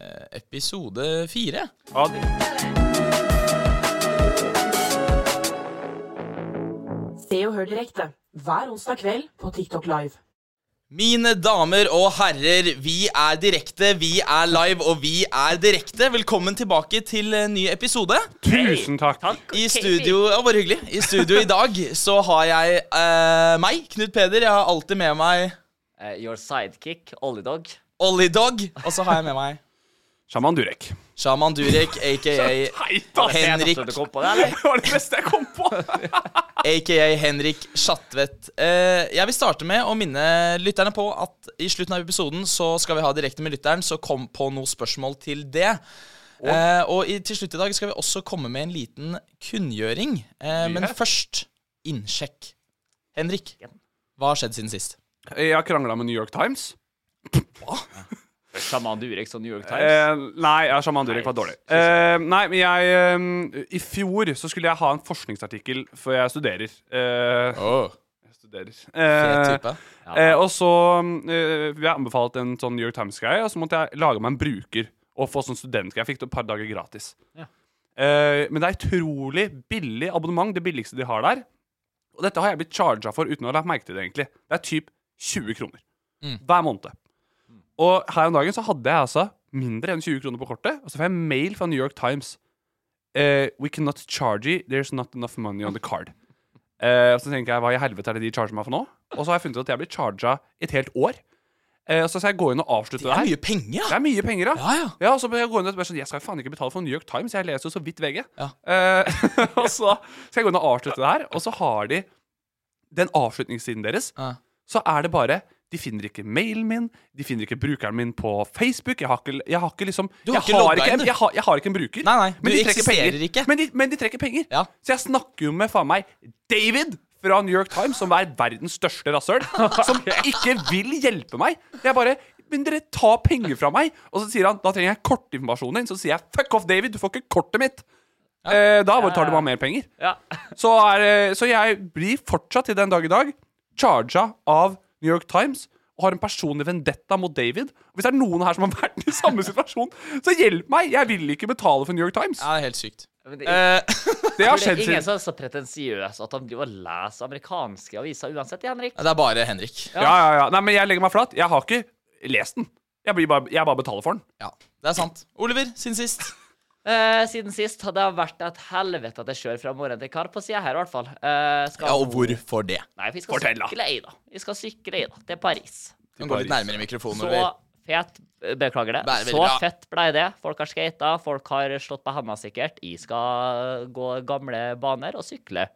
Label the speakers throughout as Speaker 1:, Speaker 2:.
Speaker 1: eh, episode fire.
Speaker 2: Se og hør direkte hver onsdag kveld på TikTok Live.
Speaker 1: Mine damer og herrer, vi er direkte, vi er live, og vi er direkte. Velkommen tilbake til en ny episode.
Speaker 3: Tusen takk.
Speaker 1: I studio ja, bare hyggelig. I studio i dag så har jeg eh, meg, Knut Peder. Jeg har alltid med meg
Speaker 4: Eh, your sidekick, Ollidog.
Speaker 1: Ollidog. Og så har jeg med meg
Speaker 3: Shaman Durek.
Speaker 1: Shaman Durek, aka
Speaker 3: Teit, ass!
Speaker 1: Henrik,
Speaker 4: Så du kom på det, eller?
Speaker 3: Det var det beste jeg kom på.
Speaker 1: aka Henrik Schatvedt. Eh, jeg vil starte med å minne lytterne på at i slutten av episoden så skal vi ha direkte med lytteren, så kom på noen spørsmål til det. Eh, og i, til slutt i dag skal vi også komme med en liten kunngjøring. Eh, men
Speaker 3: Nyhet.
Speaker 1: først innsjekk. Henrik, hva har skjedd siden sist?
Speaker 3: Jeg har krangla med New York Times.
Speaker 4: Shaman Durek og New York Times.
Speaker 3: Eh, nei, ja, Shaman Durek var dårlig. Eh, nei, men jeg eh, I fjor så skulle jeg ha en forskningsartikkel, for jeg studerer. Eh, jeg studerer.
Speaker 1: Fet
Speaker 3: Eh,
Speaker 1: type.
Speaker 3: eh, og så eh, ble jeg anbefalt en sånn New York Times-greie, og så måtte jeg lage meg en bruker og få sånn studentgreie. Jeg fikk det et par dager gratis. Eh, men det er utrolig billig abonnement, det billigste de har der. Og dette har jeg blitt charga for uten å ha lagt merke til det, egentlig. Det er typ 20 kroner
Speaker 1: Mm.
Speaker 3: hver måned. Og her om dagen så hadde jeg altså mindre enn 20 kroner på kortet, og så får jeg mail fra New York Times. Eh, we cannot charge you, there's not enough money on the card. Eh, og så tenker jeg, hva i helvete er det de charger meg for nå? Og så har jeg funnet ut at jeg blir charga et helt år. Eh, og så skal jeg gå inn og avslutte
Speaker 1: Det
Speaker 3: det
Speaker 1: er
Speaker 3: her.
Speaker 1: mye penger, ja.
Speaker 3: Det er mye penger, da.
Speaker 1: Ja, ja.
Speaker 3: og så må jeg gå inn og bare sånn, jeg skal faen ikke betale for New York Times, jeg leser jo så vidt VG.
Speaker 1: Ja.
Speaker 3: Eh, og så skal jeg gå inn og avslutte det her, og så har de den avslutningssiden deres,
Speaker 1: Ja.
Speaker 3: så er det bare de finner ikke mailen min, de finner ikke brukeren min på Facebook. Jeg har ikke, jeg har ikke liksom
Speaker 1: Du har
Speaker 3: jeg,
Speaker 1: ikke
Speaker 3: har
Speaker 1: logget
Speaker 3: ikke,
Speaker 1: inn,
Speaker 3: en-
Speaker 1: du.
Speaker 3: jeg, har, jeg har ikke en bruker.
Speaker 1: Nei, nei, du
Speaker 3: men de trekker
Speaker 1: eksisterer
Speaker 3: penger.
Speaker 1: ikke.
Speaker 3: Men de, men de trekker penger.
Speaker 1: Ja.
Speaker 3: Så jeg snakker jo med faen meg David fra New York Times, som er verdens største rasshøl, som ikke vil hjelpe meg. Jeg bare men dere tar penger fra meg. Og så sier han da trenger jeg kortinformasjonen din. Så sier jeg fuck off, David, du får ikke kortet mitt. Eh, da bare tar du bare mer penger.
Speaker 4: Ja.
Speaker 3: Så, er, eh, så jeg blir fortsatt til den dag i dag charga av New York Times og har en personlig vendetta mot David. Og hvis det er noen her som har vært i samme situasjon, så hjelp meg! Jeg vil ikke betale for New York Times.
Speaker 1: Ja, det er helt sykt.
Speaker 4: Men det,
Speaker 1: Eh,
Speaker 3: Det har
Speaker 4: det
Speaker 3: skjedd
Speaker 4: er ingen
Speaker 3: siden.
Speaker 4: som er så pretensiøs at han driver og leser amerikanske aviser uansett, Henrik.
Speaker 1: det er bare Henrik.
Speaker 3: Ja, ja, ja. Nei, men jeg legger meg flat. Jeg har ikke lest den. Jeg, blir bare, jeg bare betaler for den.
Speaker 1: Ja, det er sant. Oliver, siden sist.
Speaker 4: Eh, siden sist har det vært et helvete at jeg kjører fra morgen til kar på sida her, i hvert fall. Eh, skal-
Speaker 1: Ja, og hvorfor det?
Speaker 4: Nei, vi skal
Speaker 3: Fortell, da.
Speaker 4: sykle i, da. Vi skal sykle i, da. Til Paris.
Speaker 1: Du kan gå litt nærmere mikrofonen.
Speaker 4: Så
Speaker 1: Oliver.
Speaker 4: fet eh, Beklager det.
Speaker 1: Bare veldig
Speaker 4: Så
Speaker 1: bra.
Speaker 4: fett blei det. Folk har skata, folk har slått på handa sikkert. Jeg skal gå gamle baner og sykle.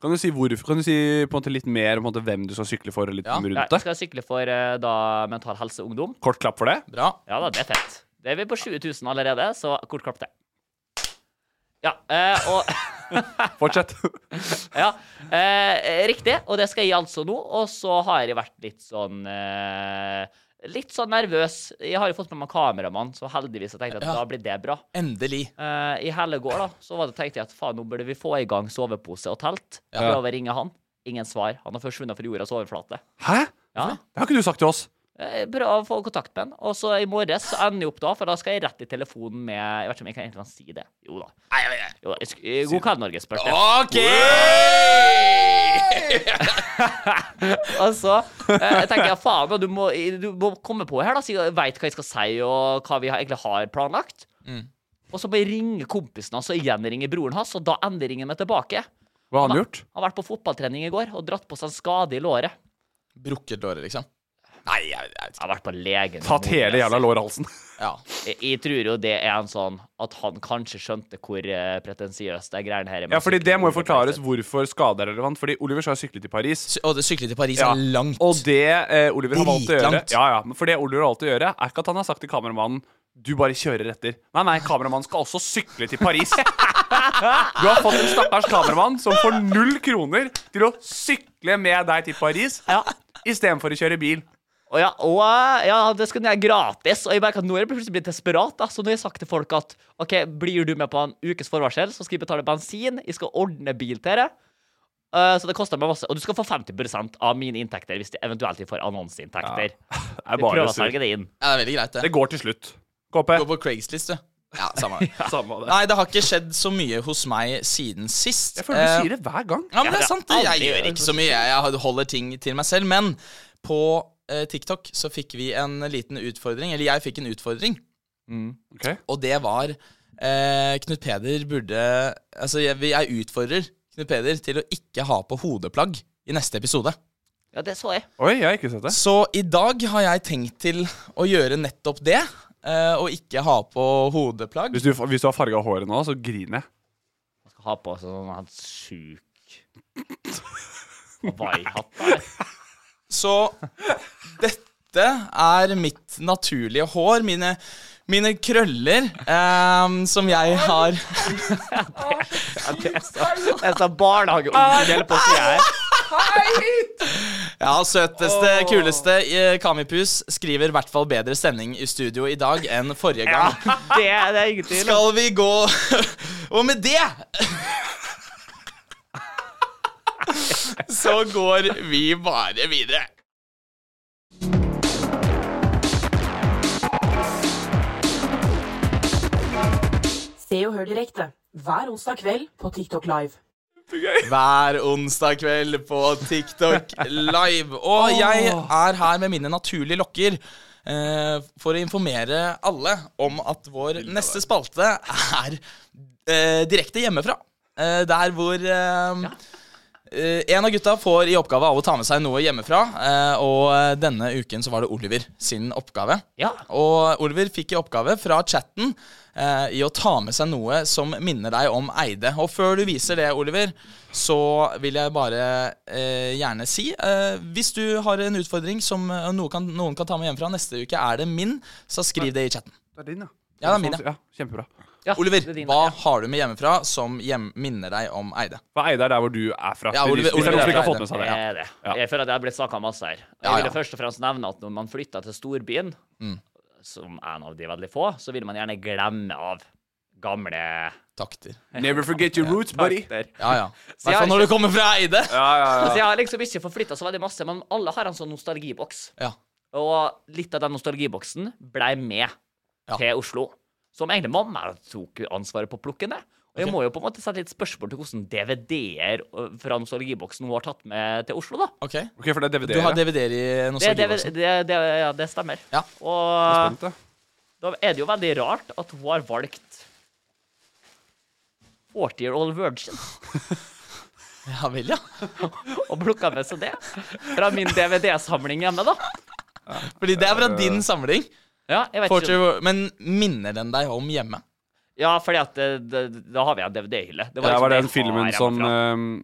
Speaker 3: Kan du si, hvorfor- kan du si på en måte litt mer om på en måte hvem du skal sykle for? og Litt
Speaker 1: Ja.
Speaker 4: Ja,
Speaker 3: rundt
Speaker 4: Jeg
Speaker 3: det?
Speaker 4: skal sykle for eh, da Mental Helse Ungdom.
Speaker 3: Kort klapp for det.
Speaker 1: Bra.
Speaker 4: Ja da, det er fett. Det er vi på 20 000 allerede, så kort klapp til. Ja, eh, og
Speaker 3: Fortsett.
Speaker 4: Ja, eh, riktig. Og det skal jeg altså nå. Og så har jeg vært litt sånn eh, Litt sånn nervøs. Jeg har jo fått med meg kameramann, så heldigvis jeg tenkte at
Speaker 1: Ja.
Speaker 4: da blir det bra.
Speaker 1: Endelig.
Speaker 4: Eh, I Hellegård da, så var det tenkte jeg at faen, nå burde vi få i gang sovepose og telt. Jeg
Speaker 1: Ja.
Speaker 4: prøver å ringe han. Ingen svar. Han har forsvunnet fra jordas overflate.
Speaker 3: Hæ?
Speaker 4: Ja.
Speaker 3: Det har ikke du sagt til oss.
Speaker 4: Eh, Prøv å få kontakt med han. Og så i morges så ender jeg opp da, for da skal jeg rett i telefonen med Jeg vet ikke om jeg kan egentlig kan si det. Jo da. Jo, da. jeg sk- eh, God kveld, Norge, spørs det.
Speaker 1: OK!
Speaker 4: Og så eh, tenker jeg faen, da, du må, du må komme på her, da, så jeg veit hva jeg skal si, og hva vi har- egentlig har planlagt. Og så må jeg ringe kompisen hans, og igjen ringe broren hans, og da ender ringen meg tilbake.
Speaker 3: Hva har han gjort?
Speaker 4: Han har vært på fotballtrening i går og dratt på seg en skade i låret.
Speaker 1: Brukket låret, liksom? Nei, jeg, jeg vet ikke.
Speaker 4: Han har vært på legen.
Speaker 3: Tatt hele jævla lårhalsen.
Speaker 1: Ja.
Speaker 4: Jeg, jeg tror jo det er en sånn at han kanskje skjønte hvor eh, pretensiøst det greiene her er. med
Speaker 3: Ja, fordi
Speaker 4: sykling
Speaker 3: det må jo
Speaker 4: og
Speaker 3: forklares hvorfor skade er relevant. Fordi Oliver skal sykle til Paris.
Speaker 1: Sy- Og det sykle til Paris
Speaker 3: Ja.
Speaker 1: er langt.
Speaker 3: Og det eh, Oliver har valgt å gjøre
Speaker 1: Dritlangt.
Speaker 3: Ja, ja, men For det Oliver har valgt å gjøre, er ikke at han har sagt til kameramannen du bare kjører etter. Nei, nei, kameramannen skal også sykle til Paris. Du har fått en stakkars kameramann som får null kroner til å sykle med deg til Paris
Speaker 4: Ja.
Speaker 3: istedenfor å kjøre bil.
Speaker 4: Og ja, og eh, ja, det skal være gratis. Og jeg merker at nå er jeg plutselig blitt desperat. Da. Så nå har jeg sagt til folk at OK, blir du med på en ukes forvarsel, så skal jeg betale bensin, jeg skal ordne bil til deg. Eh, så det koster meg masse. Og du skal få 50 av mine inntekter hvis de eventuelt får annonseinntekter.
Speaker 3: Det er
Speaker 4: Vi prøver
Speaker 3: bare
Speaker 4: å
Speaker 3: sur.
Speaker 4: selge det inn.
Speaker 1: Ja, det er veldig greit,
Speaker 3: Det
Speaker 1: det.
Speaker 3: går til slutt. KP.
Speaker 1: Gå på Craigslist, du. Ja, samme det.
Speaker 3: Samme det.
Speaker 1: Nei, det har ikke skjedd så mye hos meg siden sist.
Speaker 3: Jeg føler
Speaker 1: Eh,
Speaker 3: du sier det hver gang.
Speaker 1: Ja, men det
Speaker 4: Ja,
Speaker 1: er sant.
Speaker 4: det
Speaker 1: Jeg,
Speaker 4: er
Speaker 1: jeg
Speaker 4: aldri-
Speaker 1: gjør ikke så mye. Jeg- Jeg holder ting til meg selv. Men på eh, TikTok så fikk vi en liten utfordring. Eller jeg fikk en utfordring,
Speaker 3: Mm, Ok.
Speaker 1: og det var eh, Knut Peder burde Altså, jeg, jeg utfordrer Knut Peder til å ikke ha på hodeplagg i neste episode.
Speaker 4: Ja, det så jeg.
Speaker 3: Oi, jeg har ikke sett det.
Speaker 1: Så i dag har jeg tenkt til å gjøre nettopp det. eh, og ikke ha på hodeplagg.
Speaker 3: Hvis du, hvis du har farga håret nå, så griner jeg.
Speaker 4: Man skal ha på sånn helt sjuk Hawaii-hatt. der.
Speaker 1: Så dette er mitt naturlige hår. Mine, mine krøller eh, som jeg har
Speaker 4: Ja, Det er så, det er så barnehageonkel på sida her.
Speaker 1: Ja, søteste, kuleste eh, Kamipus skriver i hvert fall bedre sending i studio i dag enn forrige gang.
Speaker 4: Det, det er ingen tvil om.
Speaker 1: Skal vi gå Og med det Så går vi bare videre.
Speaker 2: Se og hør direkte hver onsdag kveld på TikTok Live.
Speaker 1: Hver onsdag kveld på TikTok Live. Og jeg er her med mine naturlige lokker. eh, for å informere alle om at vår neste spalte er eh, direkte hjemmefra. Eh, der hvor eh, eh, en av gutta får i oppgave av å ta med seg noe hjemmefra. eh, og eh, denne uken så var det Oliver sin oppgave.
Speaker 4: Ja.
Speaker 1: Og Oliver fikk i oppgave fra chatten eh, i å ta med seg noe som minner deg om Eide. Og før du viser det, Oliver, så vil jeg bare eh, gjerne si eh, Hvis du har en utfordring som eh, noen kan, noen kan ta med hjemmefra neste uke, er det min, så skriv det i chatten.
Speaker 3: Det er din, ja.
Speaker 1: Ja, det er min, ja.
Speaker 3: ja. Kjempebra.
Speaker 4: Ja,
Speaker 1: Oliver,
Speaker 4: det er din,
Speaker 1: hva
Speaker 4: ja.
Speaker 1: har du med hjemmefra som hjem minner deg om Eide?
Speaker 3: For Eide er der hvor du er fra.
Speaker 1: Ja, Oliver-
Speaker 3: hvis det
Speaker 1: Oliver
Speaker 3: er noen som ikke
Speaker 1: er
Speaker 3: har fått med seg
Speaker 4: Det
Speaker 3: det.
Speaker 4: er det.
Speaker 3: Ja.
Speaker 4: Jeg føler at jeg har blitt snakka masse her.
Speaker 1: Ja,
Speaker 4: Jeg ville
Speaker 1: ja.
Speaker 4: først og fremst nevne at når man flytter til storbyen,
Speaker 3: Mm.
Speaker 4: som en av de veldig få, så vil man gjerne glemme av gamle
Speaker 1: Takter.
Speaker 3: Never forget your roots, buddy.
Speaker 4: der.
Speaker 1: Ja, ja. I
Speaker 4: jeg
Speaker 1: hvert
Speaker 4: har
Speaker 1: fall når du kommer fra Eide.
Speaker 3: Ja, ja,
Speaker 4: Så
Speaker 3: ja.
Speaker 4: jeg har liksom ikke forflytta så veldig masse, men alle har en sånn nostalgiboks.
Speaker 1: Ja.
Speaker 4: Og litt av den nostalgiboksen blei med
Speaker 1: Ja.
Speaker 4: til Oslo. Som egentlig mamma tok ansvaret på å plukke ned. Og jeg må jo på en måte sette litt spørsmål til hvordan DVD-er fra nostalgiboksen hun har tatt med til Oslo, da.
Speaker 1: Ok.
Speaker 3: Ok, for det er DVD.
Speaker 1: Du har DVD-er i
Speaker 4: Det, det,
Speaker 1: nostalgiboksen?
Speaker 4: det, det, ja, det stemmer.
Speaker 1: Ja.
Speaker 4: Og
Speaker 3: Vent, da.
Speaker 4: da er det jo veldig rart at hun har valgt 40 Year Old Virgin
Speaker 1: Ja vel, ja.
Speaker 4: og plukka med seg det fra min DVD-samling hjemme, da.
Speaker 1: Fordi det er fra din samling.
Speaker 4: Ja, jeg vet ikke.
Speaker 1: Fortune- Men minner den deg om hjemme?
Speaker 4: Ja, fordi at eh, det- da har vi en DVD-hylle. Det
Speaker 3: Det
Speaker 4: liksom
Speaker 3: var
Speaker 4: det
Speaker 3: den
Speaker 4: jeg har
Speaker 3: filmen
Speaker 4: hjemmefra.
Speaker 3: som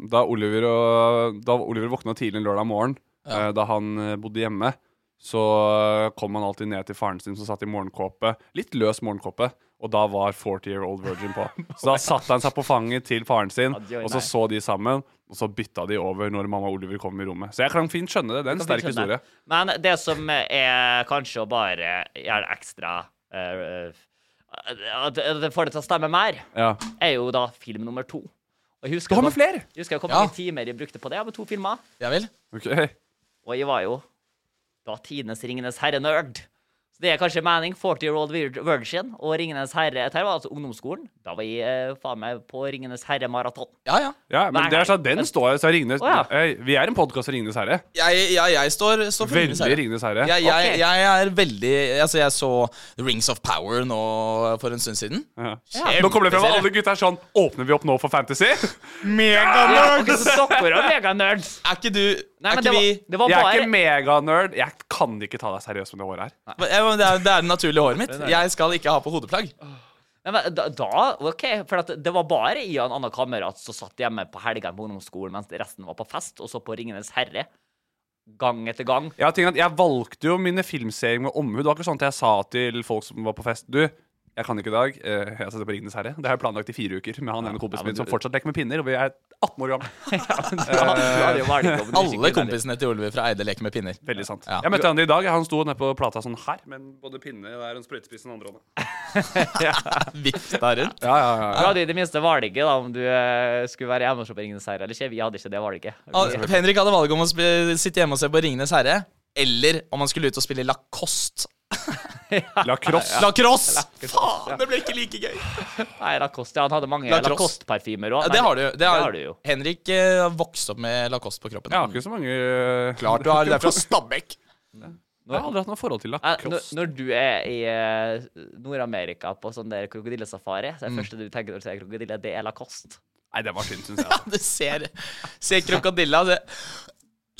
Speaker 3: eh, Da Oliver, og, da Oliver våkna tidlig en lørdag morgen, eh, da han eh, bodde hjemme, så eh, kom han alltid ned til faren sin, som satt i morgenkåpe. Litt løs morgenkåpe. Og da var 40 Year Old Virgin på. Så da satte han seg på fanget til faren sin, og så så de sammen. Og så bytta de over når mamma og Oliver kom i rommet. Så jeg kan fint skjønne det. Det er en sterk
Speaker 4: Skjønner.
Speaker 3: historie.
Speaker 4: Men det som er kanskje å bare gjøre ekstra eh, eh, At at det får det til å stemme mer,
Speaker 3: Ja.
Speaker 4: er jo da film nummer to. Og Og jeg husker
Speaker 3: Du har
Speaker 4: jeg
Speaker 3: med
Speaker 4: kom-
Speaker 3: flere!
Speaker 4: Jeg husker jeg kom
Speaker 1: Ja.
Speaker 4: mange timer jeg brukte på det. Jeg har med to filmer.
Speaker 1: Ja vel?
Speaker 3: Ok.
Speaker 4: Og jeg var jo da tidenes Ringenes herre-nerd. Så det er kanskje mening. 40 year old vir- virgin og Ringenes herre. Dette her var altså ungdomsskolen. Da var jeg eh, faen meg på Ringenes herre-maraton.
Speaker 1: Ja, ja.
Speaker 3: Ja, men
Speaker 4: Nei,
Speaker 3: det
Speaker 4: nei.
Speaker 3: er sånn, den står jo så er Ringnes
Speaker 4: Å, ja.
Speaker 3: Eh, Vi er en podkast av Ringenes herre.
Speaker 1: Jeg, jeg, jeg står, står for
Speaker 3: Veldig
Speaker 1: Ringenes herre.
Speaker 3: Ringenes herre.
Speaker 1: Jeg, jeg,
Speaker 4: Ok.
Speaker 1: jeg er veldig Altså, jeg så Rings of Power nå for en stund siden.
Speaker 3: Ja. Nå kommer det frem at alle gutta er sånn Åpner vi opp nå for fantasy?
Speaker 4: Ja,
Speaker 3: Meganerd!
Speaker 4: ok, så dere er meganerds.
Speaker 1: Er ikke du
Speaker 4: Nei,
Speaker 1: Er
Speaker 4: men
Speaker 1: ikke
Speaker 4: det var,
Speaker 1: vi
Speaker 4: det var
Speaker 3: Jeg er
Speaker 4: bare
Speaker 3: ikke meganerd. Jeg kan ikke ta deg seriøst med det håret her.
Speaker 1: Ja, men det, er, det er det naturlige håret mitt. Jeg skal ikke ha på hodeplagg.
Speaker 4: Nei, men da, da, ok, for at det var bare jeg og en annen kamerat som satt hjemme på helgene på ungdomsskolen mens resten var på fest, og så på Ringenes herre gang etter gang.
Speaker 3: Jeg, har tenkt at jeg valgte jo mine filmserier med omhu. Det var ikke sånn at jeg sa til folk som var på fest Du, jeg kan ikke i dag. eh, Jeg setter på Ringenes herre. Det har jeg planlagt i fire uker med han ene kompisen min som fortsatt leker med pinner, og vi er 18 år gamle. Eh,
Speaker 4: Ja, du hadde jo valgt om du
Speaker 1: Alle
Speaker 4: skikkelig-
Speaker 1: kompisene til Oliver fra Eide leker med pinner.
Speaker 3: Veldig sant.
Speaker 1: Ja.
Speaker 3: Jeg møtte han i dag. Han sto nede på plata sånn her, men både pinne og en sprøytespiss i den andre hånda.
Speaker 1: Vifta rundt.
Speaker 3: Ja, ja, ja,
Speaker 4: Du hadde i det minste valget da, om du eh, skulle være hjemme og se på Ringenes herre eller ikke. Vi hadde ikke det valget.
Speaker 1: Ah,
Speaker 4: Vi,
Speaker 1: Henrik hadde valget om å sp- sitte hjemme og se på Ringenes herre, eller om han skulle ut og spille Lacoste.
Speaker 3: Lacrosse.
Speaker 1: Lacrosse! Faen, det ble ikke like gøy.
Speaker 4: nei, Lacoste, han hadde mange
Speaker 1: Lacoste.
Speaker 4: Lacoste-parfymer
Speaker 1: Ja,
Speaker 4: òg.
Speaker 1: det har du jo. Det har,
Speaker 4: du jo.
Speaker 1: Henrik eh, vokste opp med Lacoste på kroppen.
Speaker 3: Jeg har ikke så mange eh,
Speaker 1: Klart du har det er fra Stabekk.
Speaker 3: Jeg har aldri hatt noe forhold til
Speaker 4: Nei, Når,
Speaker 3: lacrosse.
Speaker 4: når du er i eh, Nord-Amerika på sånn der krokodillesafari,
Speaker 1: Mm.
Speaker 4: så er det første du tenker når du ser krokodille, det er Lacoste.
Speaker 3: Nei, det var synd, syns jeg. altså.
Speaker 1: Du ser, ser krokodilla og ser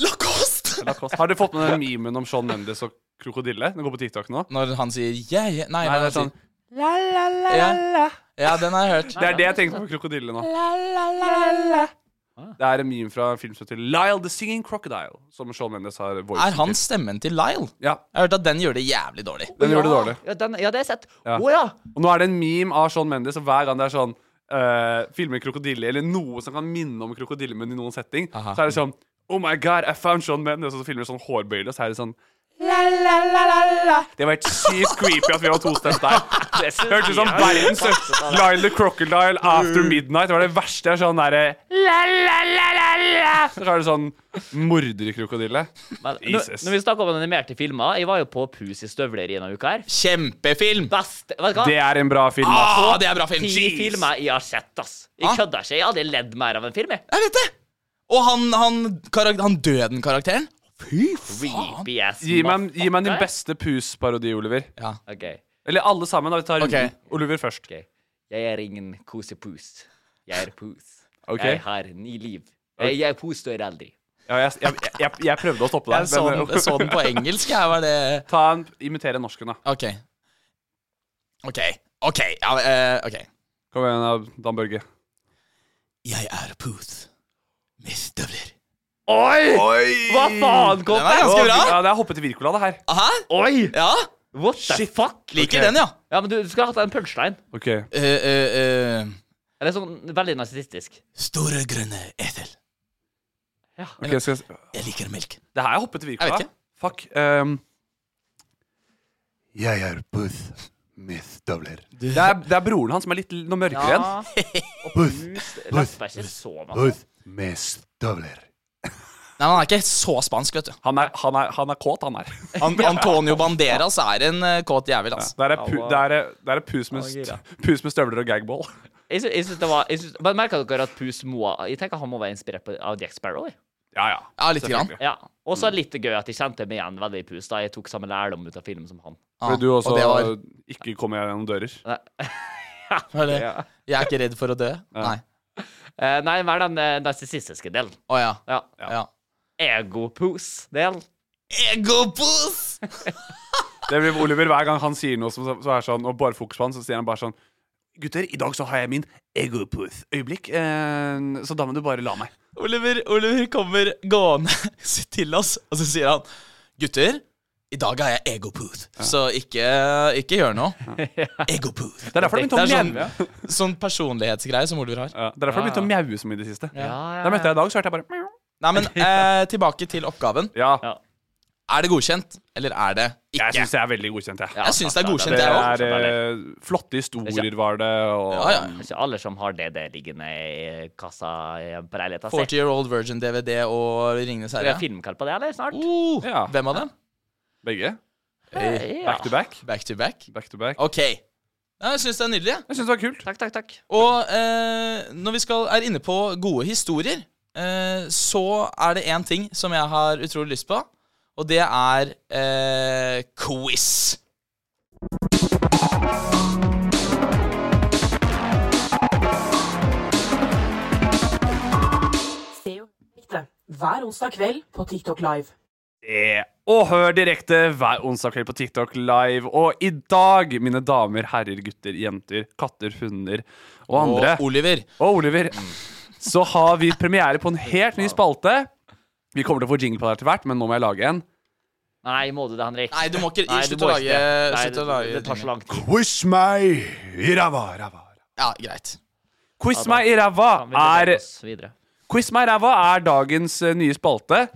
Speaker 1: Lacoste!
Speaker 3: Lacoste. Har du fått med den memen om Sean Mendes og krokodille? Den går på TikTok nå.
Speaker 1: Når han sier yeah, yeah. Nei, når
Speaker 3: Nei, det
Speaker 1: han
Speaker 3: er sånn
Speaker 1: sier, ja, den har jeg hørt.
Speaker 3: Det er det jeg tenker på med krokodille nå.
Speaker 1: Ah.
Speaker 3: Det er en meme fra en film som heter Lyle the Singing Crocodile, som Sean Mendes har voicet.
Speaker 1: Er han stemmen til Lyle?
Speaker 3: Ja.
Speaker 1: Jeg har hørt at den gjør det jævlig dårlig.
Speaker 3: Den gjør det
Speaker 4: Ja,
Speaker 3: dårlig.
Speaker 4: Ja, den, ja det har jeg sett. Å
Speaker 3: Ja.
Speaker 4: ja.
Speaker 3: Og nå er det en meme av Sean Mendes, og hver gang det er sånn eh, Filmer krokodille, eller noe som kan minne om krokodille, men i noen setting, så er det sånn Oh my god, I found Sean Mendes, og så filmer de sånn hårbøyle, og så er det sånn Det var helt sykt creepy at vi var tostemt der.
Speaker 4: Det synes
Speaker 3: Hørtes ut som
Speaker 4: jeg er
Speaker 3: verdens
Speaker 4: litt fast, det der.
Speaker 3: Lyle the Crocodile After
Speaker 1: Mm.
Speaker 3: Midnight. Det var det verste. er Sånn derre Så er det sånn morderkrokodille.
Speaker 4: Men, når,
Speaker 3: Jesus.
Speaker 4: når vi snakker om animerte filmer, jeg var jo på Pus i støvler i noen uker.
Speaker 1: Kjempefilm!
Speaker 4: Best, vet du hva?
Speaker 3: Det er en bra film. altså. ass.
Speaker 1: Ah, det er bra film.
Speaker 4: Ti
Speaker 1: Jeez. Ah.
Speaker 4: filmer jeg har sett, ass. Jeg kødder ikke. Jeg hadde ledd mer av en film, jeg.
Speaker 1: Jeg vet det! Og han, han, karak- han døden-karakteren. Fy faen!
Speaker 4: Creepy ass.
Speaker 3: Gi meg, gi meg din
Speaker 4: motherfucker.
Speaker 3: beste pus-parodi, Oliver.
Speaker 1: Ja.
Speaker 4: Ok.
Speaker 3: Eller alle sammen. da, Vi tar runden.
Speaker 1: Ok.
Speaker 3: Oliver først.
Speaker 4: Ok. Jeg er ingen kosepus. Jeg er pus.
Speaker 3: Ok.
Speaker 4: Jeg har ni liv. Jeg, jeg er pus og er eldre.
Speaker 3: Ja, jeg, jeg, jeg, jeg prøvde å stoppe deg.
Speaker 1: Jeg så den,
Speaker 3: men- eh,
Speaker 1: jeg så den på engelsk. Jeg var det
Speaker 3: Ta en, imitere norsken, da.
Speaker 1: OK. OK. OK. Ja, eh, ok.
Speaker 3: Kom igjen, da, Dan Børge.
Speaker 1: Jeg er Pooth med støvler.
Speaker 4: Oi! Hva faen,
Speaker 1: Den er
Speaker 4: Koppe?
Speaker 1: ganske bra.
Speaker 3: Ja, det er hoppet til Wirkola, det her.
Speaker 1: Hæ?
Speaker 4: Oi!
Speaker 1: Ja?
Speaker 4: What the fuck?
Speaker 1: Liker
Speaker 3: Ok.
Speaker 1: den, ja.
Speaker 4: Ja, men du, du skulle hatt en punchline.
Speaker 3: Ok.
Speaker 1: Eh, eh, eh,
Speaker 4: Eller sånn veldig narsissistisk.
Speaker 1: store grønne esel.
Speaker 3: ok, skal jeg,
Speaker 1: Jeg liker melk.
Speaker 3: det her er hoppet til
Speaker 1: Jeg
Speaker 3: Wirkola.
Speaker 1: vet ikke.
Speaker 3: Fuck. ehm,
Speaker 5: Jeg er Booth med støvler.
Speaker 3: det, er, det er broren hans som er litt l- noe mørkere enn.
Speaker 4: Og pus rapper ikke så masse.
Speaker 5: Booth med støvler.
Speaker 1: Nei, men Han er ikke så spansk, vet du.
Speaker 3: Han er, han, er, han er kåt, han her.
Speaker 1: An Antonio Banderas er en eh, kåt jævel, altså.
Speaker 3: Det er, pu, det er, det er pus, med, st- pus med støvler og gagball.
Speaker 4: Jeg syns, jeg syns det var jeg syns, Men merka dere at Pus må Jeg tenker han må være inspirert på, av Jack Sparrow. jeg.
Speaker 3: Ja, ja.
Speaker 1: Ja, lite grann.
Speaker 3: Selvfølgelig.
Speaker 4: Ja. Og så er det litt gøy at jeg kjente meg igjen veldig i Pus. da Jeg tok samme lærdom ut av filmen som han.
Speaker 1: Ja,
Speaker 3: Fordi du også
Speaker 1: og det var,
Speaker 3: ikke kommer gjennom dører.
Speaker 1: var det. Jeg er ikke redd for å dø. Nei.
Speaker 4: Eh, nei, hva er den eh, narsissistiske delen?
Speaker 1: Å ja.
Speaker 4: Ja.
Speaker 1: ja.
Speaker 4: Egopus-del.
Speaker 1: Egopos!
Speaker 3: Det blir Oliver hver gang han sier noe som så er sånn, og bare fokus på han, så sier han bare sånn Gutter, i dag så har jeg min egopooth-øyeblikk, eh, så da må du bare la meg.
Speaker 1: Oliver, Oliver kommer gående til oss, og så sier han Gutter, i dag er jeg egopooth, så ikke, ikke gjør noe. Egopooth.
Speaker 3: Det er derfor jeg begynte å
Speaker 1: sånn,
Speaker 3: mjaue.
Speaker 1: sånn personlighetsgreie som Oliver har.
Speaker 3: Ja, det er derfor jeg begynte å mjaue så mye i det siste.
Speaker 4: Ja, ja,
Speaker 3: Da møtte jeg i dag, så hørte jeg bare mjau.
Speaker 1: Nei, men eh, tilbake til oppgaven.
Speaker 3: Ja.
Speaker 4: Ja.
Speaker 1: Er det godkjent, eller er det ikke?
Speaker 3: Jeg syns det er veldig godkjent, jeg.
Speaker 1: Jeg synes det er godkjent,
Speaker 3: Det
Speaker 1: jeg òg.
Speaker 3: er eh, flotte historier, var det. Og
Speaker 1: Ja, ja.
Speaker 4: Det er ikke alle som har det der liggende i kassa i- på leiligheta si.
Speaker 1: 40 Year Old Virgin DVD og Ringenes
Speaker 4: Skal vi ha
Speaker 1: herre.
Speaker 4: filmkall på det, eller? Snart?
Speaker 1: Oh,
Speaker 3: Ja.
Speaker 1: Hvem av dem?
Speaker 3: Begge.
Speaker 4: Ja.
Speaker 3: Back to back.
Speaker 1: Back to back?
Speaker 3: Back to back.
Speaker 1: OK. Ja, jeg syns det er nydelig. jeg.
Speaker 3: Jeg syns det var kult.
Speaker 4: Takk, takk, takk.
Speaker 1: Og eh, når vi skal, er inne på gode historier, eh, så er det én ting som jeg har utrolig lyst på, og det er eh, quiz.
Speaker 2: Se og hør direkte hver onsdag kveld på TikTok Live.
Speaker 3: Eh, Og hør direkte hver onsdag kveld på TikTok Live. Og i dag, mine damer, herrer, gutter, jenter, katter, hunder og andre
Speaker 1: Og Oliver.
Speaker 3: og Oliver,
Speaker 5: Mm.
Speaker 3: så har vi premiere på en helt ny spalte. Vi kommer til å få jingle på det etter hvert, men nå må jeg lage en.
Speaker 4: Nei, må du det, Henrik?
Speaker 1: Nei, du må ikke-
Speaker 4: Nei,
Speaker 1: slutt
Speaker 4: du må
Speaker 1: å
Speaker 4: ikke
Speaker 1: lage-
Speaker 4: det. Nei,
Speaker 1: slutt å
Speaker 4: det-
Speaker 1: lage
Speaker 4: Det tar så lang tid.
Speaker 5: Quiz meg i ræva, ræva.
Speaker 1: Ja, greit.
Speaker 3: Quiz meg i ræva
Speaker 4: Kan vi bevege
Speaker 3: er
Speaker 4: oss videre?
Speaker 3: Quiz meg i ræva er dagens eh, nye spalte.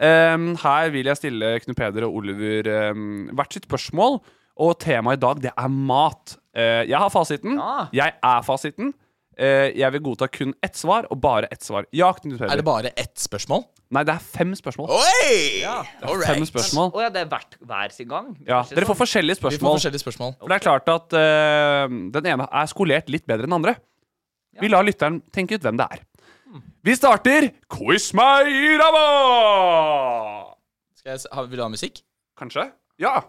Speaker 3: Ehm, her vil jeg stille Knut Peder og Oliver ehm, hvert sitt spørsmål. Og temaet i dag, det er mat. Eh, jeg har fasiten.
Speaker 4: Ja.
Speaker 3: Jeg er fasiten. Eh, jeg vil godta kun ett svar, og bare ett svar. Ja, Knut Peder.
Speaker 1: Er det bare ett spørsmål?
Speaker 3: Nei, det er fem spørsmål.
Speaker 1: Oi! All right.
Speaker 3: Fem spørsmål.
Speaker 4: Å ja, det er hvert hver sin gang?
Speaker 3: Ja,
Speaker 4: Ikke
Speaker 3: dere
Speaker 4: sånn?
Speaker 3: får forskjellige
Speaker 1: Vi får
Speaker 3: spørsmål.
Speaker 1: forskjellige spørsmål.
Speaker 3: For det er klart at eh, den ene er skolert litt bedre enn den andre. Vi lar lytteren tenke ut hvem det er.
Speaker 1: Hmm.
Speaker 3: Vi starter Quiz meg i ræva!
Speaker 1: Skal jeg, s- ha- vil du ha musikk?
Speaker 3: Kanskje? Ja.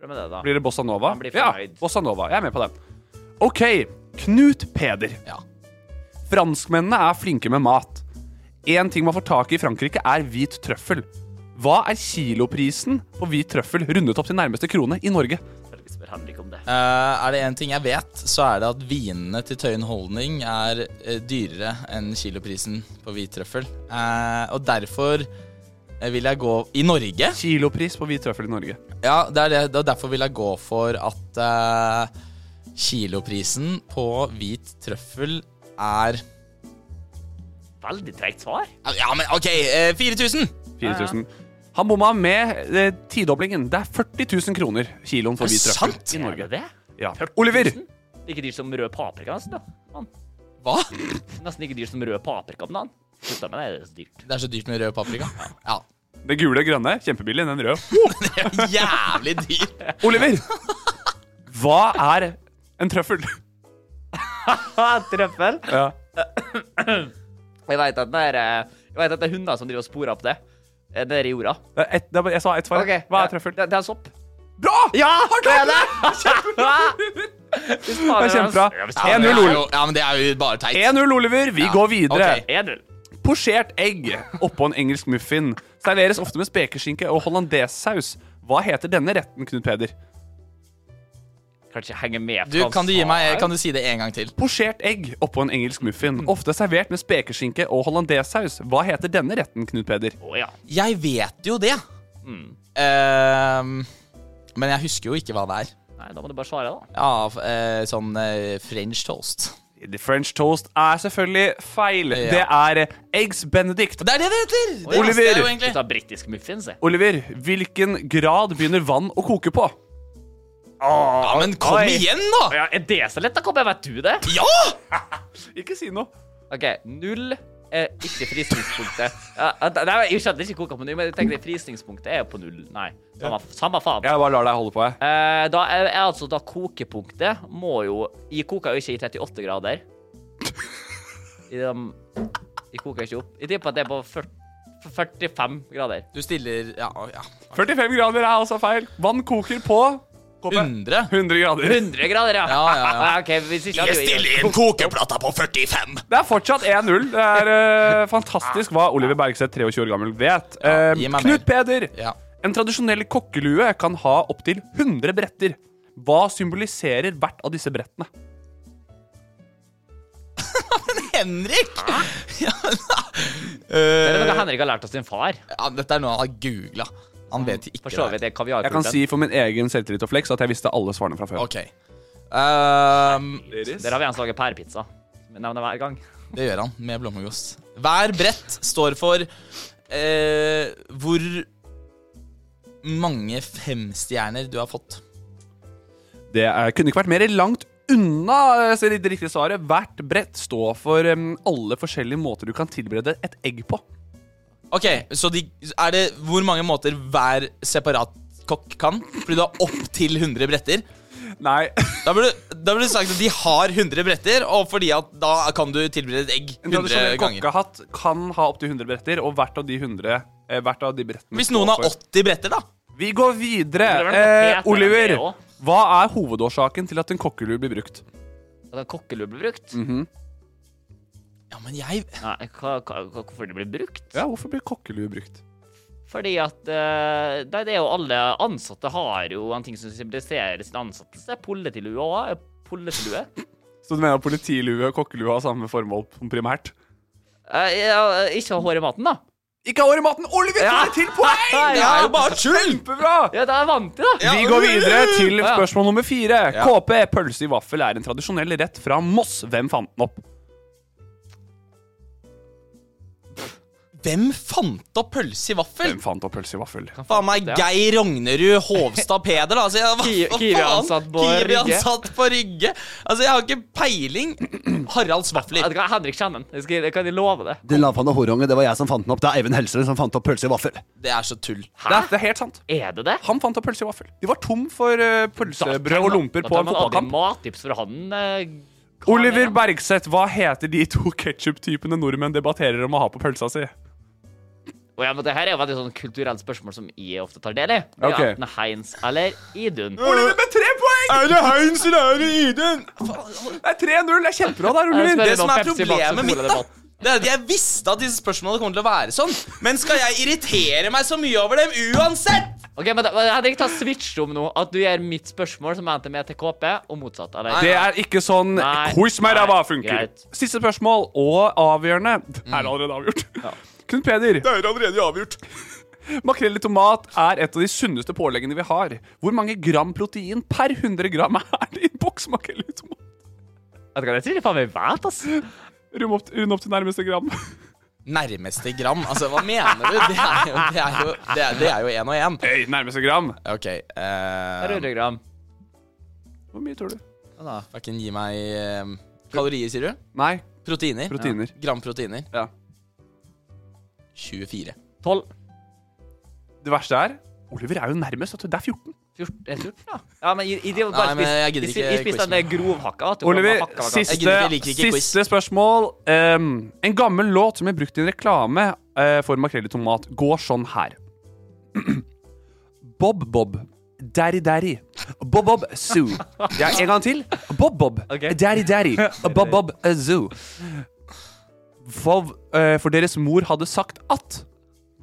Speaker 4: Prøv med det, da.
Speaker 3: Blir det Bossa Nova?
Speaker 4: Han blir
Speaker 3: ja,
Speaker 4: fornøyd.
Speaker 3: Bossa Nova. Jeg er med på den. OK. Knut Peder.
Speaker 1: Ja.
Speaker 3: Franskmennene er flinke med mat. Én ting man får tak i i Frankrike, er hvit trøffel. Hva er kiloprisen på hvit trøffel rundet opp til nærmeste krone i Norge?
Speaker 4: Selvfølgelig spør Henrik om det.
Speaker 1: Eh, er det én ting jeg vet, så er det at vinene til Tøyen Holdning er eh, dyrere enn kiloprisen på hvit trøffel. Eh, og derfor eh, vil jeg gå I Norge?
Speaker 3: Kilopris på hvit trøffel i Norge.
Speaker 1: Ja, det er det. det er derfor vil jeg gå for at eh, kiloprisen på hvit trøffel er
Speaker 4: Veldig treigt svar.
Speaker 1: Ja, men OK! eh, 4000!
Speaker 3: 4000. Han bomma med eh, tidoblingen. Det er 40 000 kroner kiloen for
Speaker 1: Er det
Speaker 3: hvit trøffel
Speaker 1: sant?
Speaker 3: i Norge.
Speaker 4: Er det det?
Speaker 3: Ja. Oliver!
Speaker 4: Like dyrt som rød paprika, nesten. da. Man.
Speaker 1: Hva?
Speaker 4: Nesten like dyrt som rød paprika om dagen. Slutta med det, det er så dyrt.
Speaker 1: Det er så dyrt med rød paprika. Ja.
Speaker 3: Det gule og grønne. Kjempebillig. Den røde.
Speaker 1: Det er jævlig dyrt.
Speaker 3: Oliver! Hva er en trøffel?
Speaker 4: Trøffel?
Speaker 3: Ja.
Speaker 4: Jeg veit at, den er, eh, jeg vet at det er hunder som driver og sporer opp det. Eh, Det er i jorda.
Speaker 3: Det er ett- det er bare- jeg sa ett svar.
Speaker 4: Ok,
Speaker 3: Hva er
Speaker 4: ja,
Speaker 3: trøffel?
Speaker 4: Det, det er sopp.
Speaker 3: Bra!
Speaker 4: Ja,
Speaker 3: Har
Speaker 4: det
Speaker 3: klart
Speaker 4: er det!
Speaker 3: Det er kjempebra.
Speaker 1: Ja, men det
Speaker 3: 1-0,
Speaker 1: er
Speaker 3: Oliver.
Speaker 1: jo- ja, men det er jo bare teit.
Speaker 3: 1-0, Oliver. Vi
Speaker 1: Ja,
Speaker 3: går videre.
Speaker 1: ok.
Speaker 4: 1-0.
Speaker 3: Posjert egg oppå en engelsk muffin. Serveres ofte med spekeskinke og hollandesaus. Hva heter denne retten, Knut Peder?
Speaker 4: Kan ikke henge med på
Speaker 1: Du,
Speaker 4: hva
Speaker 1: kan du gi
Speaker 4: han
Speaker 1: meg
Speaker 4: sa.
Speaker 1: Kan du si det en gang til?
Speaker 3: Posjert egg oppå en engelsk
Speaker 4: Mm.
Speaker 3: muffin. Ofte servert med spekeskinke og hollandesaus. Hva heter denne retten, Knut Peder?
Speaker 4: Å ja.
Speaker 1: Jeg vet jo det.
Speaker 3: Mm.
Speaker 1: Ehm, men jeg husker jo ikke hva det er.
Speaker 4: Nei, da må du bare svare, da.
Speaker 1: Ja, f- eh, sånn eh, french toast.
Speaker 3: The French toast er selvfølgelig feil.
Speaker 1: Ja.
Speaker 3: Det er eh, eggs benedict.
Speaker 1: Det er det det heter! altså, Det
Speaker 3: Oliver!
Speaker 1: visste jeg jo egentlig.
Speaker 4: Du tar britisk muffins, jeg.
Speaker 3: Oliver, hvilken grad begynner vann å koke på?
Speaker 1: Ja, men kom
Speaker 4: Oi.
Speaker 1: igjen,
Speaker 4: Å
Speaker 1: da!
Speaker 4: ja, er det så lett? Da kommer jeg, vet du det?
Speaker 1: Ja!
Speaker 3: Ikke si noe.
Speaker 4: OK, null er ikke frysningspunktet. Ja, det- nei, jeg skjønner ikke koka på null, men jeg tenker frysningspunktet er jo på null. Nei, samme, samme faen.
Speaker 3: Jeg bare lar deg holde på. Jeg.
Speaker 4: Eh, da er, er altså da kokepunktet må jo Jeg koker jo ikke i 38 grader. I dem- jeg koker ikke opp. Jeg tipper at det er på 40, 45 grader.
Speaker 1: Du stiller Ja. ja.
Speaker 3: 45 grader er altså feil. Vann koker på Gå på.
Speaker 4: Mm.
Speaker 1: 100?
Speaker 3: 100 grader.
Speaker 4: 100 grader, ja.
Speaker 1: Ja, ja, ja.
Speaker 4: Ah, ok, hvis ikke hadde jo jeg-
Speaker 1: inn kokeplata på 45!
Speaker 3: Det er fortsatt 1-0. Det er eh, fantastisk hva Oliver Bergseth, 23 år gammel, vet. Eh,
Speaker 1: gi meg
Speaker 3: Knut Peder,
Speaker 1: Ja.
Speaker 3: en tradisjonell kokkelue kan ha opptil 100 bretter. Hva symboliserer hvert av disse brettene?
Speaker 1: Henrik! Ja,
Speaker 4: Det
Speaker 1: Eh,
Speaker 4: er noe Henrik har lært av sin far.
Speaker 1: ja, dette er noe han har googla. Han vet ikke
Speaker 4: For så vidt
Speaker 1: det.
Speaker 4: er kaviarpulpen.
Speaker 3: Jeg kan si for min egen selvtillit og flex at jeg visste alle svarene fra før.
Speaker 1: OK. Ehm,
Speaker 4: Der har vi en som lager pærepizza. Som jeg nevner hver gang.
Speaker 1: Det gjør han, med blommegost. Hver brett står for eh, hvor mange femstjerner du har fått?
Speaker 3: Det er, kunne ikke vært mer langt unna eh, så det riktige svaret. Hvert brett står for em, alle forskjellige måter du kan tilberede et egg på.
Speaker 1: Ok, så de, er det hvor mange måter hver separat kokk kan? Fordi du har opp til 100 bretter.
Speaker 3: Nei.
Speaker 1: Da burde, da burde du sagt at de har 100 bretter, og fordi at da kan du tilberede et egg
Speaker 3: En tradisjonell
Speaker 1: 100 ganger.
Speaker 3: kokkehatt kan ha opptil 100 bretter, og hvert av de 100 eh, hvert av de brettene
Speaker 1: Hvis
Speaker 3: står
Speaker 1: noen har
Speaker 3: for-
Speaker 1: 80 bretter, da.
Speaker 3: Vi går videre.
Speaker 4: Det burde vært noe
Speaker 3: Eh,
Speaker 4: helt
Speaker 3: Oliver,
Speaker 4: annet, det også.
Speaker 3: hva er hovedårsaken til at en kokkelur blir brukt?
Speaker 4: At en kokkelur Altså, blir brukt?
Speaker 3: Mhm.
Speaker 1: Ja, men jeg
Speaker 4: Nei, hva, hva, hva- hvorfor det blir brukt?
Speaker 3: Ja, Hvorfor blir kokkelur brukt?
Speaker 4: Fordi at eh, Nei, det er jo alle ansatte har jo en ting som symboliserer sin ansettelse. Polletilue òg. Polletilue.
Speaker 3: Så du mener at politilue og kokkelue har samme formål primært?
Speaker 4: Eh, ja, ikke ha hår i maten, da.
Speaker 3: Ikke hår i maten! Oliver
Speaker 4: Ja.
Speaker 3: får det til poeng!
Speaker 1: Det er jo bare tull!
Speaker 3: Kjempebra!
Speaker 4: Ja, da er jeg vant til det.
Speaker 3: Vi går videre til
Speaker 4: Ja.
Speaker 3: spørsmål nummer fire. KP pølse i vaffel er en tradisjonell rett fra Moss. Hvem fant den opp?
Speaker 1: Hvem fant opp pølse i vaffel?
Speaker 3: Hvem fant opp pølse i vaffel?
Speaker 1: Faen meg
Speaker 4: det?
Speaker 1: Geir Rognerud Hovstad Peder, da. Altså, jeg, hva,
Speaker 4: Ki-
Speaker 1: hva faen?
Speaker 4: Kiwi-ansatt på Rygge.
Speaker 1: Kiwi-ansatt på Rygge. Altså, jeg har ikke peiling. Haralds
Speaker 4: Ja,
Speaker 1: vafler.
Speaker 4: det kan- Henrik kjenner den. Jeg skal- Jeg kan love det.
Speaker 6: Den lavpanna horungen, det var jeg som fant den opp. Det er Eivind Helsrud som fant opp pølse i vaffel.
Speaker 1: Det er så tull.
Speaker 3: Det er, det er helt sant.
Speaker 4: Er det det?
Speaker 3: Han fant opp pølse i vaffel. De var tom for eh, pølsebrød og lomper på en fotballkamp.
Speaker 4: Mattips fra han eh, hva
Speaker 3: Oliver
Speaker 4: mener han?
Speaker 3: Bergseth, hva heter de to ketsjup-typene nordmenn debatterer om å ha på pølsa si?
Speaker 4: Og ja, men Det her er jo veldig sånn kulturelt spørsmål som jeg ofte tar del i. Det er
Speaker 3: Ok.
Speaker 4: Enten Heinz eller Idun.
Speaker 3: Oliver med tre poeng!
Speaker 1: Er det Heinz eller er det Idun?
Speaker 3: Det er 3-0. Det er kjempebra der, Oliver.
Speaker 4: spør-
Speaker 1: Det som er
Speaker 4: Pepsi Max og
Speaker 1: problemet mitt, da,
Speaker 4: Cola-debatt.
Speaker 1: det er at jeg visste at disse spørsmålene kom til å være sånn. Men skal jeg irritere meg så mye over dem uansett?
Speaker 4: Ok, men da, Henrik, ta switch om nå. At du gjør mitt spørsmål som endte med til KP, og motsatt. Eller?
Speaker 3: Det er ikke sånn
Speaker 4: Nei.
Speaker 3: quiz meg
Speaker 4: Nei,
Speaker 3: ræva funker.
Speaker 4: greit.
Speaker 3: Siste spørsmål, og avgjørende. Her er det allerede avgjort. Knut Peder,
Speaker 1: Det er allerede avgjort.
Speaker 3: makrell i tomat er et av de sunneste påleggene vi har. Hvor mange gram protein per 100 gram er det i en boks makrell i tomat?
Speaker 4: Vet du hva, Det tror jeg faen meg vet, ass.
Speaker 3: Rund opp, rund opp til nærmeste gram.
Speaker 1: Nærmeste gram? Altså, hva mener du? Det er jo Det er jo, det er, det er jo en og en.
Speaker 3: Hei, nærmeste gram.
Speaker 1: OK. eh,
Speaker 4: 100 gram.
Speaker 3: Hvor mye tror du?
Speaker 1: Fucking gi meg eh, kalorier, sier du?
Speaker 3: Nei,
Speaker 1: Proteiner.
Speaker 3: proteiner.
Speaker 1: Gram proteiner.
Speaker 3: Ja.
Speaker 1: 24.
Speaker 4: 12.
Speaker 3: Det verste er Oliver er jo nærmest. vet du. Det er 14.
Speaker 4: 14, jeg tror, eh, ja. ja, men jeg, jeg, driver
Speaker 1: Nei,
Speaker 4: bare
Speaker 1: men
Speaker 4: spist-
Speaker 1: jeg gidder
Speaker 4: jeg,
Speaker 1: ikke
Speaker 4: jeg spiste
Speaker 1: quiz
Speaker 4: den der grovhakka. vet du,
Speaker 3: Oliver,
Speaker 4: hvor hakka var gammel.
Speaker 3: siste,
Speaker 1: Jeg gidder ikke, jeg liker ikke quiz.
Speaker 3: siste spørsmål. Ehm, en gammel låt som er brukt i en reklame eh, for makrell i tomat, går sånn her. Bob Bob. Daddy Daddy. Bob Bob Zoo. Ja, en gang til. Bob Bob.
Speaker 4: Ok.
Speaker 3: Daddy Daddy. Bob Bob eh, Zoo. For, eh, for deres mor hadde sagt at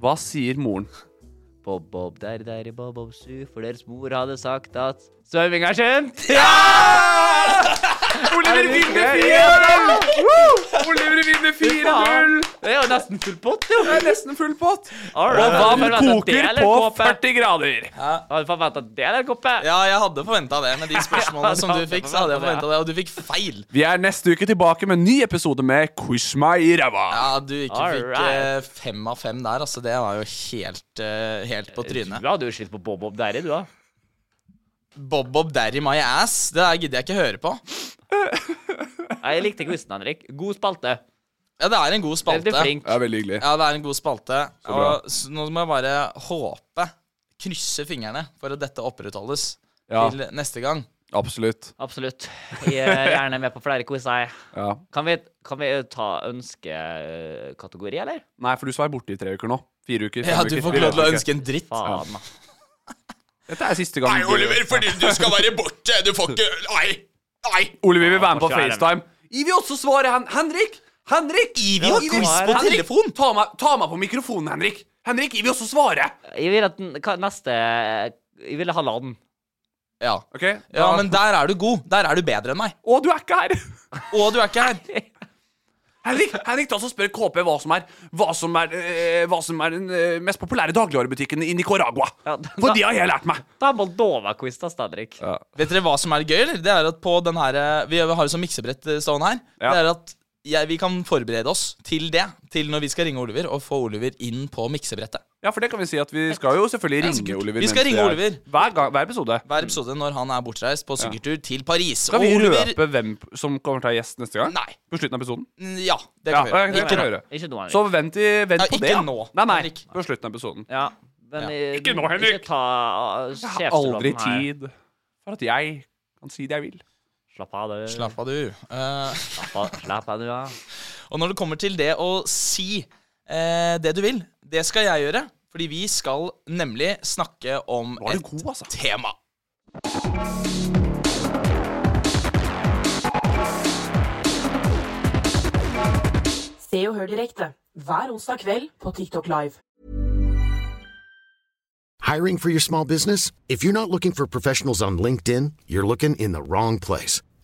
Speaker 3: Hva sier moren?
Speaker 4: Bob, bob, der, der, bob, bob, su, for deres mor hadde sagt at svømming er skjønt.
Speaker 3: Oliver vinner 4-0! Oliver vinner 4-0!
Speaker 4: Det er jo nesten full pott, jo.
Speaker 3: Det er nesten full pott.
Speaker 4: All
Speaker 3: Og
Speaker 4: right.
Speaker 3: vann
Speaker 4: Hadde du forventet det,
Speaker 3: koker
Speaker 4: eller
Speaker 3: på
Speaker 4: kåpe?
Speaker 3: 40 grader.
Speaker 4: Hadde du forventa det, eller, Koppe?
Speaker 1: Ja, jeg hadde forventa det med de spørsmålene
Speaker 4: Ja,
Speaker 1: som du
Speaker 4: det hadde
Speaker 1: fikk.
Speaker 4: jeg
Speaker 1: Så hadde jeg
Speaker 4: forventet,
Speaker 1: forventet det, Og du fikk feil.
Speaker 3: Vi er neste uke tilbake med en ny episode med Quiz meg i ræva.
Speaker 1: Ja, du ikke fikk eh,
Speaker 4: Alright.
Speaker 1: fem av fem der. Altså, det var jo helt, eh, helt på trynet.
Speaker 4: Du hadde jo slitt på Bob Bob Derry, du, da.
Speaker 1: Bob Bob Daddy My Ass. Det der gidder jeg ikke høre på.
Speaker 4: Nei, Jeg likte quizen, Henrik. God spalte.
Speaker 1: Ja, det er en god spalte.
Speaker 4: Veldig flink.
Speaker 3: Det er veldig hyggelig.
Speaker 1: Ja, det er en god spalte.
Speaker 3: bra.
Speaker 1: Og s- nå må jeg bare håpe, krysse fingrene, for at dette opprettholdes
Speaker 3: Ja.
Speaker 1: til neste gang.
Speaker 3: Absolutt.
Speaker 4: Absolutt. Jeg er gjerne med på flere quizer. jeg.
Speaker 3: Ja.
Speaker 4: Kan vi, kan vi ta ønskekategori, eller?
Speaker 3: Nei, for du skal være borte i tre uker nå. Fire uker. fem
Speaker 1: Ja, du
Speaker 3: uker.
Speaker 1: får
Speaker 3: Vi
Speaker 1: ikke lov til å
Speaker 3: vet
Speaker 1: ønske en dritt.
Speaker 4: Faen, da.
Speaker 3: Dette er siste gang.
Speaker 5: Nei, Oliver, fordi du skal være borte. Du får ikke Nei. Nei.
Speaker 3: Oliver vil være med på
Speaker 4: Ja, kjære.
Speaker 3: FaceTime. Gi vi også svaret, Hen Henrik! Henrik!
Speaker 1: Ivi har quiz på
Speaker 3: Henrik,
Speaker 1: telefon!
Speaker 3: Ta meg, ta meg på mikrofonen, Henrik. Henrik, gi vi også svaret.
Speaker 4: Jeg vil at den, hva, neste Jeg ville ha Laden.
Speaker 1: Ja.
Speaker 3: Ok?
Speaker 1: ja, men der er du god. Der er du bedre enn meg.
Speaker 3: Å, du er ikke her.
Speaker 1: Og du er ikke her.
Speaker 3: Henrik, Henrik, ta oss og spør KP hva som er, hva som er, eh, hva som er den eh, mest populære dagligvarebutikken i Nicaragua.
Speaker 4: Ja, da-
Speaker 3: For det har jeg lært meg.
Speaker 4: Ta Moldova-quiz, da, Henrik.
Speaker 1: Vet dere hva som er gøy, eller? Det er at på den her eh, Vi har jo sånn miksebrett eh, stående her.
Speaker 3: Ja.
Speaker 1: Det er at jeg, vi kan forberede oss til det. Til når vi skal ringe Oliver og få Oliver inn på miksebrettet.
Speaker 3: Ja, for det kan vi si at vi skal jo selvfølgelig
Speaker 1: Ja, så
Speaker 3: ringe
Speaker 1: kult.
Speaker 3: Oliver.
Speaker 1: Vi skal
Speaker 3: mens
Speaker 1: ringe
Speaker 3: det er-
Speaker 1: Oliver.
Speaker 3: Hver, gang, hver episode.
Speaker 1: Hver episode når han er bortreist på sykkeltur til Paris.
Speaker 3: Mm. Skal vi
Speaker 1: Og Oliver-
Speaker 3: røpe hvem som kommer til å være gjest neste gang?
Speaker 1: Nei.
Speaker 3: På slutten av episoden?
Speaker 1: Mm, Ja, det kan vi
Speaker 3: ja,
Speaker 1: gjøre.
Speaker 3: det kan vi
Speaker 1: nå.
Speaker 3: gjøre.
Speaker 4: Ikke nå, Henrik.
Speaker 3: Så vent, i, vent
Speaker 1: Ja,
Speaker 3: på
Speaker 1: ikke
Speaker 3: det. ja.
Speaker 1: nå,
Speaker 3: Nei, nei.
Speaker 1: Henrik.
Speaker 3: På slutten av episoden.
Speaker 4: Ja, men i-
Speaker 3: Ikke nå, Henrik.
Speaker 4: Ikke ta uh,
Speaker 3: Jeg har aldri
Speaker 4: sjefsrollen her.
Speaker 3: tid for at jeg kan si det jeg vil.
Speaker 4: Slapp av, du.
Speaker 1: Slapp av, du. Eh,
Speaker 4: Slapp av, slapp av du, ja.
Speaker 1: og når det kommer til det å si eh, det du vil, det skal jeg gjøre. Fordi vi skal nemlig snakke om
Speaker 3: Nå er du
Speaker 1: et
Speaker 3: god, altså.
Speaker 1: tema.
Speaker 2: Se og hør direkte hver onsdag kveld på TikTok Live.
Speaker 7: Hiring for your small business? If you're not looking for professionals on LinkedIn, you're looking in the wrong place.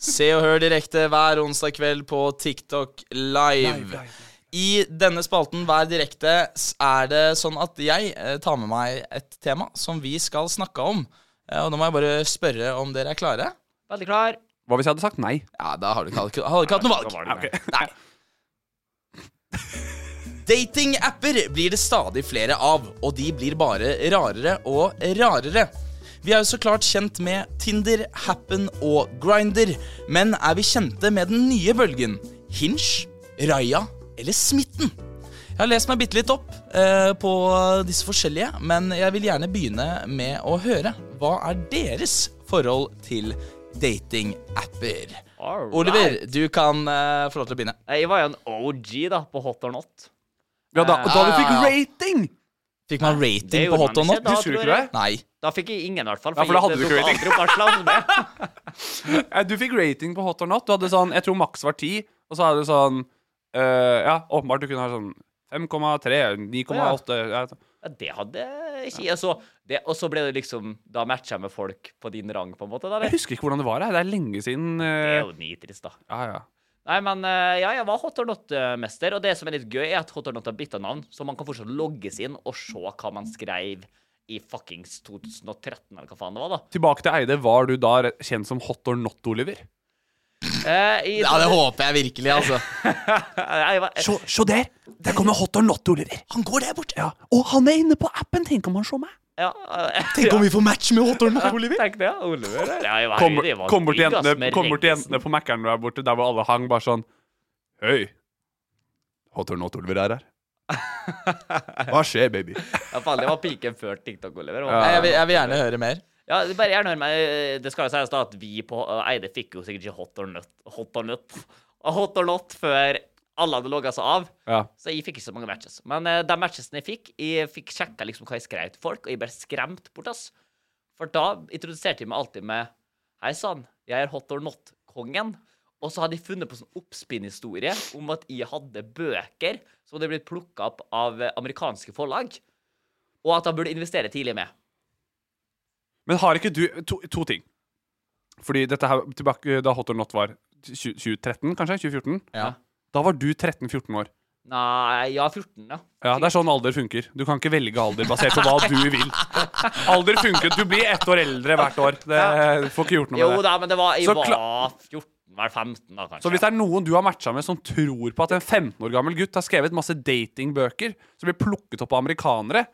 Speaker 1: Se og hør direkte hver onsdag kveld på TikTok Live. I denne spalten Hver direkte s- er det sånn at jeg eh, tar med meg et tema som vi skal snakke om. Eh, Og nå må jeg bare spørre om dere er klare.
Speaker 4: Veldig klar.
Speaker 3: Hva hvis jeg hadde sagt nei?
Speaker 1: Ja, da har du ikke, hadde, hadde ikke hatt noe valg.
Speaker 3: Nei, ok.
Speaker 1: Nei. Datingapper blir det stadig flere av, og de blir bare rarere og rarere. Vi er jo så klart kjent med Tinder, Happen og Grinder, men er vi kjente med den nye bølgen? Hinge, Raya eller Smitten? Jeg har lest meg bitte litt opp eh, på disse forskjellige, men jeg vil gjerne begynne med å høre. Hva er deres forhold til datingapper?
Speaker 4: Alright.
Speaker 1: Oliver, du kan eh, få lov til å begynne.
Speaker 4: Jeg var jo en OG, da, på Hot or Not.
Speaker 3: Ja, da, da du fikk
Speaker 4: Ah.
Speaker 1: Ja, ja, ja.
Speaker 3: rating!
Speaker 1: Fikk man
Speaker 4: Det
Speaker 1: rating på
Speaker 4: gjorde
Speaker 1: hot
Speaker 4: man
Speaker 1: or not?
Speaker 4: ikke da,
Speaker 3: Husker du
Speaker 4: tror
Speaker 3: ikke
Speaker 4: jeg.
Speaker 3: det?
Speaker 1: Nei.
Speaker 4: Da fikk jeg ingen, i hvert fall.
Speaker 3: Ja, for da hadde
Speaker 4: det
Speaker 3: du ikke
Speaker 4: tok aldri opp varsel, altså, men-
Speaker 3: Eh, Du fikk rating på Hot or Not. Du hadde sånn, Jeg tror maks var 10, og så hadde du sånn eh, Ja, åpenbart du kunne ha sånn 5,3, 9,8 ja.
Speaker 4: Ja, det hadde jeg ikke jeg så det, Og så ble det liksom Da matcha jeg med folk på din rang, på en måte. Da,
Speaker 3: Jeg
Speaker 4: eller?
Speaker 3: husker ikke hvordan det var. jeg. Det er lenge siden.
Speaker 4: Det
Speaker 3: eh,
Speaker 4: er jo nitrist, da.
Speaker 3: Ja, ja.
Speaker 4: Nei, men eh, ja, jeg var hot or not-mester, og det som er litt gøy, er at hot or not har bytta navn, så man kan fortsatt logges inn og se hva man skrev i fuckings 2013, eller hva faen det var, da.
Speaker 3: Tilbake til Eide. Var du da re- kjent som Hot or Not, Oliver?
Speaker 4: Eh, i,
Speaker 1: Ja, det håper jeg virkelig, altså.
Speaker 4: jeg var,
Speaker 3: Se, se der! Der kommer Hot or Not, Oliver.
Speaker 1: Han går der borte.
Speaker 3: Ja. Og han er inne på appen! Tenk om han så meg.
Speaker 4: ja, eh,
Speaker 1: Tenk om vi får match med hot or not, Oliver.
Speaker 4: Tenk det, Oliver. eller? Ja, jeg var-
Speaker 3: Kommer,
Speaker 4: det var
Speaker 3: kommer, til
Speaker 4: digg, ass,
Speaker 3: jentene,
Speaker 4: med
Speaker 3: kommer til
Speaker 4: Reggesen.
Speaker 3: jentene på Mækkern der borte, der hvor alle hang, bare sånn Høy. Hot or Not, Oliver er her. Hva skjer, baby?
Speaker 4: Ja, faen, det var piken før TikTok, Oliver.
Speaker 3: Ja.
Speaker 1: Nei, jeg, vil, jeg vil gjerne høre mer.
Speaker 4: Ja, det bare gjerne hør meg. eh, Det skal jo sies da at vi på Eide fikk jo sikkert ikke hot or not, hot or not, hot or not før alle hadde logga seg av.
Speaker 3: Ja.
Speaker 4: Så jeg fikk ikke så mange matches. Men eh, de matchesene jeg fikk, jeg fikk sjekka liksom hva jeg skrev til folk, og jeg ble skremt bort, ass. For da introduserte de meg alltid med Hei sann, jeg er hot or not-kongen. Og så hadde de funnet på sånn oppspinnhistorie om at jeg hadde bøker som hadde blitt plukka opp av eh, amerikanske forlag, og at jeg burde investere tidlig med.
Speaker 3: Men har ikke du To, to ting. Fordi dette her tilbake da Hot or Not var 20, 2013, kanskje? 2014?
Speaker 1: Ja.
Speaker 3: Da var du 13-14 år.
Speaker 4: Nei, ja, 14, ja.
Speaker 3: Ja, Det er sånn alder funker. Du kan ikke velge alder basert på hva du vil. Alder funker. Du blir ett år eldre hvert år. Det du får ikke gjort noe
Speaker 4: Jo
Speaker 3: med det.
Speaker 4: da, men det var, jeg
Speaker 3: Så
Speaker 4: var 14, var 15 da, kanskje.
Speaker 3: Så hvis det er noen du har matcha med som tror på at en 15 år gammel gutt har skrevet masse datingbøker som blir plukket opp av amerikanere,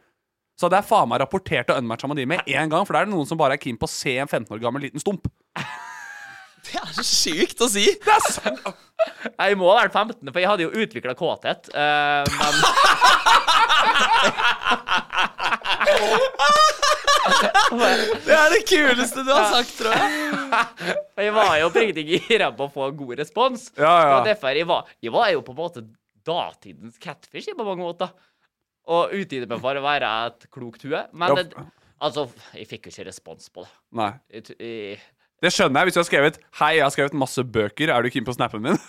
Speaker 3: så hadde jeg faen meg rapportert og unmatcha med de med en gang, for da er det noen som bare er keen på å se en 15 år gammel liten stump.
Speaker 1: Det er så sykt å si!
Speaker 3: Det er sant!
Speaker 4: Jeg må ha vært 15, for jeg hadde jo utvikla kåthet. eh, men
Speaker 1: Det er det kuleste du har sagt, tror jeg.
Speaker 4: Og jeg var jo oppriktig gira på å få god respons.
Speaker 3: Ja, ja.
Speaker 4: Og derfor jeg var jeg var jo på en måte datidens catfish jeg, på mange måter. Og utgitt meg for å være et klokt hue. Men
Speaker 3: Ja.
Speaker 4: det, altså, jeg fikk jo ikke respons på det.
Speaker 3: Nei.
Speaker 4: Jeg, t- jeg,
Speaker 3: Det skjønner jeg hvis du har skrevet 'Hei, jeg har skrevet masse bøker, er du keen på snappen min?'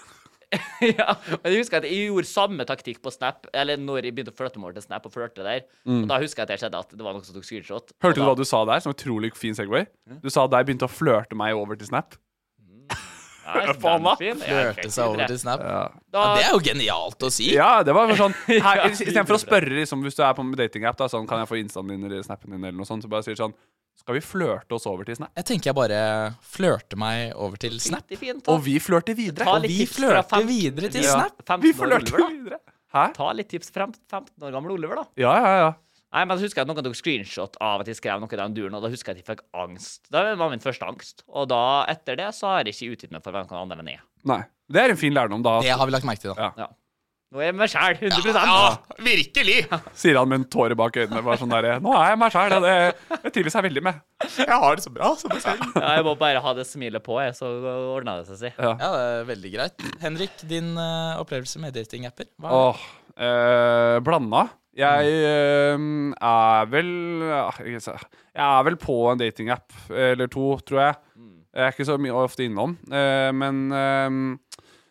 Speaker 4: ja, men jeg husker at jeg gjorde samme taktikk på Snap, eller når jeg begynte å flørte med henne til Snap og flørte der.
Speaker 1: Mm.
Speaker 4: Og da husker jeg at jeg skjedde at det var noen som tok screenshot. og
Speaker 3: Hørte du
Speaker 4: da-
Speaker 3: hva du sa der? Som utrolig fin segway. Du sa at jeg begynte å flørte meg over til Snap.
Speaker 4: Nei,
Speaker 3: Faen, da.
Speaker 4: den fin. Jeg er
Speaker 1: Hørte
Speaker 4: ikke
Speaker 1: seg over
Speaker 4: videre.
Speaker 1: til Snap.
Speaker 4: Da,
Speaker 1: Det er jo genialt å si.
Speaker 3: Ja, det var bare sånn
Speaker 4: Ja,
Speaker 3: hei, i- Istedenfor å
Speaker 4: videre fra.
Speaker 3: spørre liksom, hvis du er på en datingapp, da, sånn, kan jeg få instaen din eller snappen din, eller noe sånt, så bare sier du sånn Skal vi flørte oss over til Snap?
Speaker 1: Jeg tenker jeg bare flørter meg over til Snap.
Speaker 4: Fint, fint, da.
Speaker 3: Og vi flørter videre.
Speaker 4: Ta
Speaker 1: Og
Speaker 4: litt
Speaker 1: vi
Speaker 4: tips fra
Speaker 1: flørter
Speaker 4: 15
Speaker 1: videre til
Speaker 4: Ja.
Speaker 1: Snap.
Speaker 4: 15
Speaker 3: Vi
Speaker 4: år
Speaker 3: flørter
Speaker 4: Oliver, da.
Speaker 3: videre. Hæ?
Speaker 4: Ta litt tips frem 15 år gamle Oliver, da.
Speaker 3: Ja, ja, ja.
Speaker 4: Nei, men så husker jeg at noen tok screenshot av at jeg skrev noe i den duren, og da husker jeg at jeg fikk angst. Det var min første angst. Og da, etter det, så har jeg ikke utgitt meg for hvem kan andre enn jeg.
Speaker 3: Nei. Det er en fin lærdom, da,
Speaker 1: Det har vi lagt merke til, da.
Speaker 4: Ja. Nå er jeg meg sjæl, 100
Speaker 5: virkelig!
Speaker 3: sier han med en tåre bak øynene. Bare sånn derre Nå er jeg meg sjæl, og det, det trives jeg veldig med.
Speaker 5: Jeg har det så bra som meg selv.
Speaker 4: ja, Jeg må bare ha det smilet på, jeg, så ordner det seg, si.
Speaker 1: Ja, det er veldig greit. Henrik, din eh, opplevelse med datingapper? Hva-
Speaker 3: Åh, eh, blanda. Jeg eh, er vel ah, jeg sa- Jeg er vel på en datingapp eller to, tror jeg. Jeg er ikke så mye ofte innom. eh, men eh,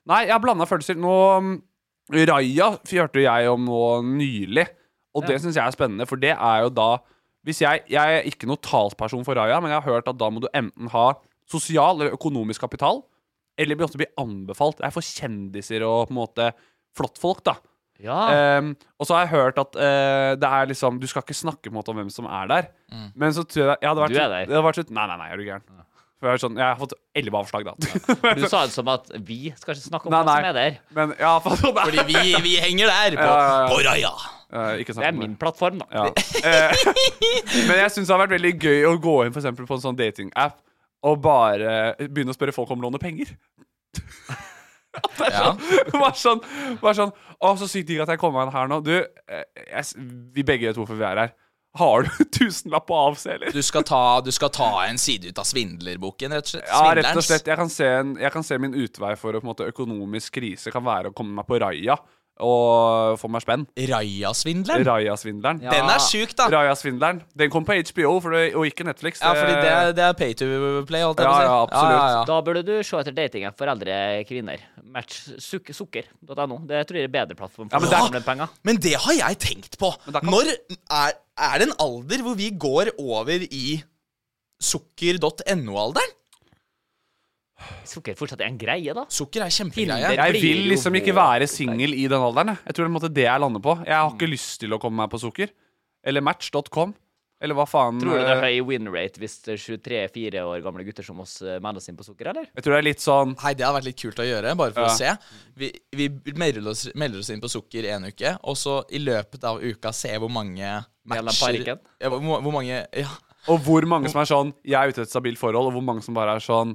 Speaker 3: Nei, jeg har blanda følelser. Nå mm, Raja hørte jeg om nå nylig, og det syns jeg er spennende, for det er jo da hvis jeg, jeg er ikke noen talsperson for Raja, men jeg har hørt at da må du enten ha sosial eller økonomisk kapital, eller bli ofte bli anbefalt. Det er for kjendiser og på en måte flottfolk, da.
Speaker 4: Ja.
Speaker 3: Ehm, og så har jeg hørt at eh, det er liksom Du skal ikke snakke på en måte om hvem som er der. Men så tror jeg, jeg hadde vært,
Speaker 4: Mm. Du er der.
Speaker 3: Det hadde vært slutt. Nei, nei, nei, er du gæren. For jeg, er sånn, jeg har fått elleve avslag, da.
Speaker 4: Du sa det som at vi skal ikke snakke om
Speaker 3: Nei,
Speaker 4: hva som
Speaker 3: nei.
Speaker 4: er der.
Speaker 3: Men jeg har fått sånn
Speaker 1: Fordi vi, vi henger der på,
Speaker 3: ja, ja.
Speaker 1: på Raja.
Speaker 3: Eh, Ikke
Speaker 4: Det
Speaker 3: snakk
Speaker 4: er
Speaker 3: om
Speaker 4: min plattform, da.
Speaker 3: Ja. Eh, Men jeg syns det har vært veldig gøy å gå inn for eksempel, på en sånn datingapp og bare eh, begynne å spørre folk om å låne penger.
Speaker 1: Ja.
Speaker 3: Bare sånn, bare sånn Å, så sykt digg at jeg kom meg inn her nå. Du, eh, jeg, s- vi begge vet hvorfor vi er her. Har du tusenlapp på AFC, eller?
Speaker 1: Du, skal ta, du skal ta en side ut av svindlerboken, rett og slett.
Speaker 3: Ja, rett og
Speaker 1: Svindlerens.
Speaker 3: slett. Jeg kan se, en, jeg kan se min utvei for å, på en måte, økonomisk krise kan være å komme meg på raia og få meg spenn.
Speaker 1: Raja-svindleren.
Speaker 3: Raja-svindleren.
Speaker 1: Den er sjuk, da.
Speaker 3: Raja-svindleren. Den kom på HBO for det, og ikke Netflix.
Speaker 1: Ja, fordi det er, det er pay to play, holdt jeg
Speaker 3: Ja,
Speaker 1: på å si.
Speaker 3: ja, absolutt.
Speaker 4: Da burde du se etter dating for eldre kvinner. Match suk sukker.no. Det tror jeg er bedre plattform for
Speaker 3: men
Speaker 4: å
Speaker 3: der-
Speaker 4: samle penger.
Speaker 1: Men det har jeg tenkt på.
Speaker 3: da kan-
Speaker 1: Når er, er det en alder hvor vi går over i sukker.no-alderen?
Speaker 4: Sukker fortsatt er en greie, da.
Speaker 1: Sukker er
Speaker 4: Tinder.
Speaker 1: kjempegreie.
Speaker 3: Jeg
Speaker 4: blir
Speaker 3: vil
Speaker 4: jo
Speaker 3: liksom ikke
Speaker 4: vår
Speaker 3: være singel i den alderen. jeg. Jeg tror det er på en måte det jeg lander på. Jeg har ikke lyst til å komme meg på sukker. Eller match.com. Eller hva faen.
Speaker 4: Tror du det er
Speaker 3: eh,
Speaker 4: høy win rate hvis 23-4 år gamle gutter som oss eh, melder oss inn på sukker, eller?
Speaker 3: Jeg tror det er litt sånn
Speaker 1: Hei, det hadde vært litt kult å gjøre, bare for
Speaker 3: Ja.
Speaker 1: å se. Vi, vi melder, oss, melder oss inn på sukker en uke, og så i løpet av uka se hvor mange
Speaker 4: Gjelder
Speaker 1: matcher
Speaker 4: parikken?
Speaker 1: ja, hvor, hvor mange ja.
Speaker 3: Og hvor mange som er sånn Jeg er ute i et stabilt forhold, og hvor mange som bare er sånn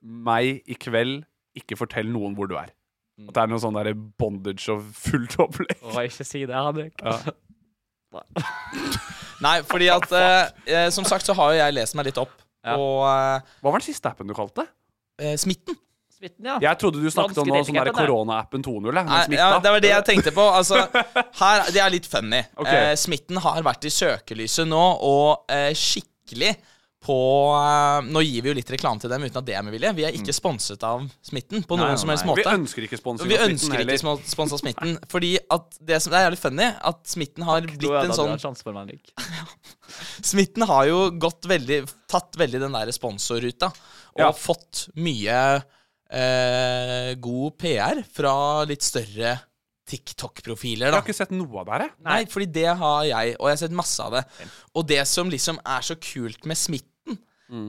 Speaker 3: Meg i kveld, ikke fortell noen hvor du er.
Speaker 1: Mm.
Speaker 3: At det er noe sånn der bondage og fullt opplegg.
Speaker 4: Å, ikke si det, Henrik.
Speaker 1: Nei, fordi at eh, eh, Som sagt så har jo jeg lest meg litt opp eh,
Speaker 4: Ja.
Speaker 1: på
Speaker 3: Hva var den siste appen du kalte?
Speaker 1: eh, eh, smitten.
Speaker 4: Smitten, ja.
Speaker 3: Jeg trodde du snakket om
Speaker 4: Franske
Speaker 3: noe sånn der
Speaker 4: delikater, det.
Speaker 3: koronaappen 2.0. jeg,
Speaker 1: Nei,
Speaker 3: men
Speaker 1: ja,
Speaker 3: smitta.
Speaker 1: det var det jeg tenkte på. Altså, her, det er litt funny.
Speaker 3: Ok.
Speaker 1: Eh, smitten har vært i søkelyset nå, og eh, skikkelig på eh, Nå gir vi jo litt reklame til dem uten at det er med vilje. Vi er ikke sponset av smitten på noen som helst måte.
Speaker 3: Mm. Vi ønsker ikke sponsing.
Speaker 1: Vi
Speaker 3: av smitten
Speaker 1: ønsker
Speaker 3: heller.
Speaker 1: ikke små- spons av smitten, fordi at det som det er jævlig funny, at smitten har
Speaker 4: Da
Speaker 1: blitt en
Speaker 4: hadde du
Speaker 1: sånn
Speaker 4: hatt sjanse for meg, Henrik.
Speaker 1: Smitten har jo gått veldig tatt veldig den der sponsorruta, og
Speaker 3: Ja.
Speaker 1: fått mye eh, god PR fra litt større TikTok-profiler,
Speaker 3: Jeg
Speaker 1: da.
Speaker 3: har ikke sett noe av det her, jeg.
Speaker 1: Nei, fordi det har jeg, og jeg har sett masse av det. Og det som liksom er så kult med smitten,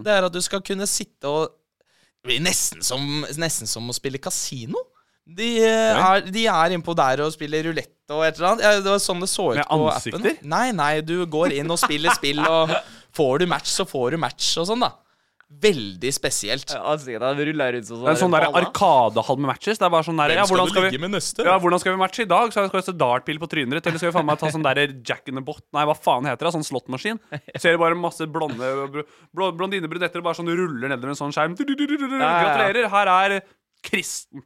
Speaker 1: det er at du skal kunne sitte og Det blir nesten som, nesten som å spille kasino. De, eh, er, de er innpå der og spiller rulett og et eller annet. Ja, det var sånn det så ut
Speaker 3: Med
Speaker 1: på appen.
Speaker 3: ansikter?
Speaker 1: Nei, nei, du går inn og spiller spill, og får du match, så får du match og sånn, da. veldig spesielt.
Speaker 3: altså, Det er sånn der arkadehall med matches. Det er bare sånn der,
Speaker 1: Hvem
Speaker 3: ja,
Speaker 1: skal
Speaker 3: hvordan
Speaker 1: du
Speaker 3: skal
Speaker 1: ligge
Speaker 3: vi,
Speaker 1: med neste, da?
Speaker 3: ja, hvordan skal vi matche i dag? Skal vi skal vi se dartpil på trynet ditt? Eller skal vi faen meg ta sånn der Jack in the Bot? Nei, hva faen heter det? Sånn slåttmaskin? Ser bare masse blonde bro- bro- blondiner brunetter bare sånn ruller nedover en sånn skjerm. Du, du, du, du, du, du.
Speaker 4: Ja, ja, ja.
Speaker 3: Gratulerer, her er Kristen.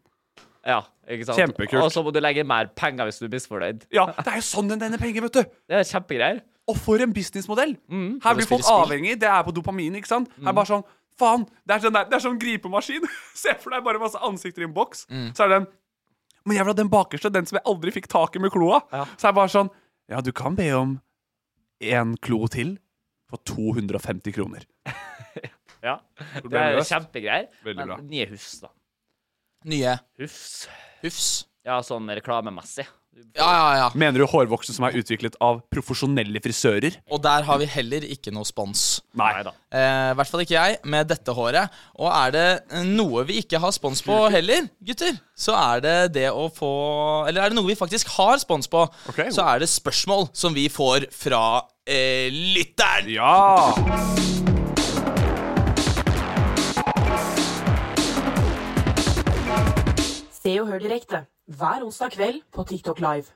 Speaker 4: Ja, ikke sant?
Speaker 3: Kjempekult.
Speaker 4: Og så må du legge mer penger hvis du er misfornøyd.
Speaker 3: Ja, det er jo sånn den tjener penger, vet du.
Speaker 4: Det er kjempegreier.
Speaker 3: Og for en businessmodell! Her
Speaker 1: Og
Speaker 3: blir
Speaker 1: spille
Speaker 3: folk
Speaker 1: spill.
Speaker 3: avhengig. Det er på dopamin, ikke sant? Her er bare sånn Faen! Det er sånn, der, det er sånn gripemaskin. Se for deg bare masse ansikter i en boks. Så er det den Men jeg vil ha den bakerste, den som jeg aldri fikk tak i med kloa. Så er det bare sånn Ja, du kan be om én klo til for 250 kroner.
Speaker 4: Ja. Det er
Speaker 3: Problemløst.
Speaker 4: kjempegreier.
Speaker 3: Veldig bra.
Speaker 4: Men nye hus, da.
Speaker 1: Nye
Speaker 4: Hufs.
Speaker 1: hufs.
Speaker 4: Ja, sånn reklamemessig.
Speaker 1: Ja, ja, ja.
Speaker 3: Mener du hårvoksen som er utviklet av profesjonelle frisører?
Speaker 1: Og der har vi heller ikke noe spons.
Speaker 3: Nei.
Speaker 4: Neida.
Speaker 1: Eh, I hvert fall ikke jeg, med dette håret. Og er det eh, noe vi ikke har spons på heller, gutter, så er det det å få Eller er det noe vi faktisk har spons på,
Speaker 3: Ok.
Speaker 1: så er det spørsmål som vi får fra eh, lytteren. Ah.
Speaker 3: Ja!
Speaker 2: Se og hør direkte hver onsdag kveld på TikTok Live.